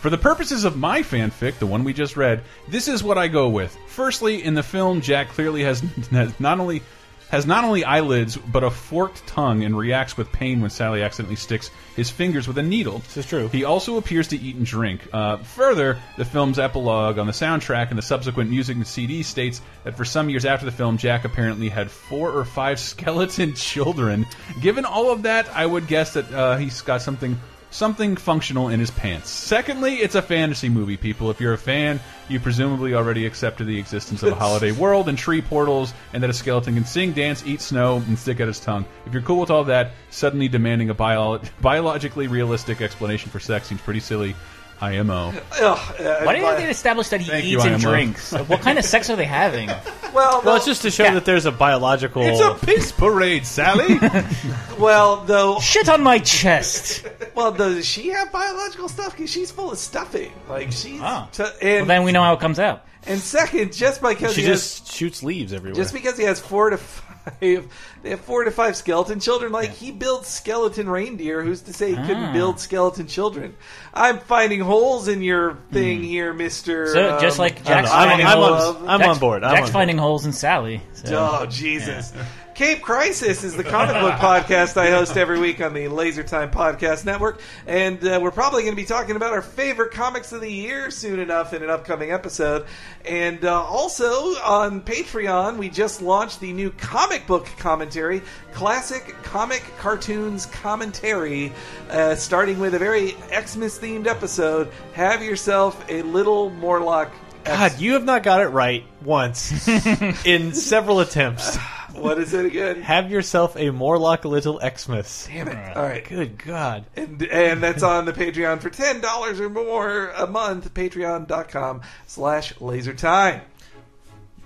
for the purposes of my fanfic, the one we just read, this is what I go with. Firstly, in the film, Jack clearly has, has not only has not only eyelids but a forked tongue and reacts with pain when Sally accidentally sticks his fingers with a needle. This is true. He also appears to eat and drink. Uh, further, the film's epilogue on the soundtrack and the subsequent music and CD states that for some years after the film, Jack apparently had four or five skeleton children. Given all of that, I would guess that uh, he's got something something functional in his pants. Secondly, it's a fantasy movie, people. If you're a fan, you presumably already accepted the existence of a holiday world and tree portals, and that a skeleton can sing, dance, eat snow, and stick out his tongue. If you're cool with all that, suddenly demanding a bio biologically realistic explanation for sex seems pretty silly. IMO. uh, Why didn't they establish that he Thank eats you, and IMO. drinks? what kind of sex are they having? Well, Well, it's just to show that there's a biological. It's a piss parade, Sally. well, though. Shit on my chest. Well, does she have biological stuff? Because she's full of stuffing. Like Mm-hmm. she's. Ah. so- well, and then we know how it comes out. and second, just because she he has- just shoots leaves everywhere. just because he has four to five, they have four to five skeleton children. Like he built skeleton reindeer. Who's to say he Ah. couldn't build skeleton children? I'm finding holes in your thing here, Mister. um, So just like Jack's finding holes, Jack's- Jack's finding holes in Sally. so- Oh Jesus! Cape Crisis is the comic book podcast I host every week on the Laser Time Podcast Network, and uh, we're probably going to be talking about our favorite comics of the year soon enough in an upcoming episode. And uh, also on Patreon, we just launched the new comic book commentary, classic comic cartoons commentary, uh, starting with a very Xmas themed episode. Have yourself a little Morlock. God, you have not got it right once in several attempts. What is it again? Have yourself a Morlock Little Xmas. Damn it! All right, Good God. and and that's on the Patreon for ten dollars or more a month. Patreon.com slash laser time.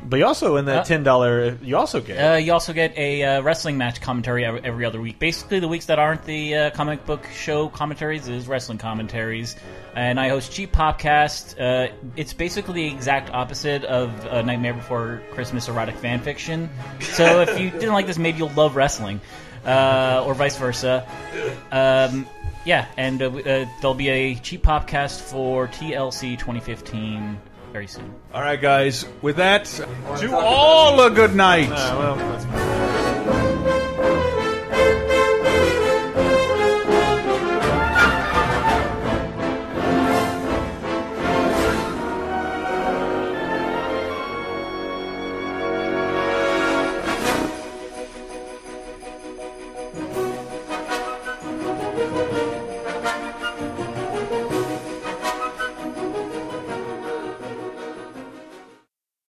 But you also, in Uh, that $10, you also get. Uh, you also get a uh, wrestling match commentary ev- every other week. Basically, the weeks that aren't the uh, comic book show commentaries is wrestling commentaries. And I host Cheap Popcast. Uh, it's basically the exact opposite of uh, Nightmare Before Christmas erotic fan fiction. So if you didn't like this, maybe you'll love wrestling, uh, or vice versa. Um, yeah, and uh, w- uh, there'll be a Cheap Popcast for TLC 2015 very soon. all right, guys. With that, to all a good night. Uh, well, that's-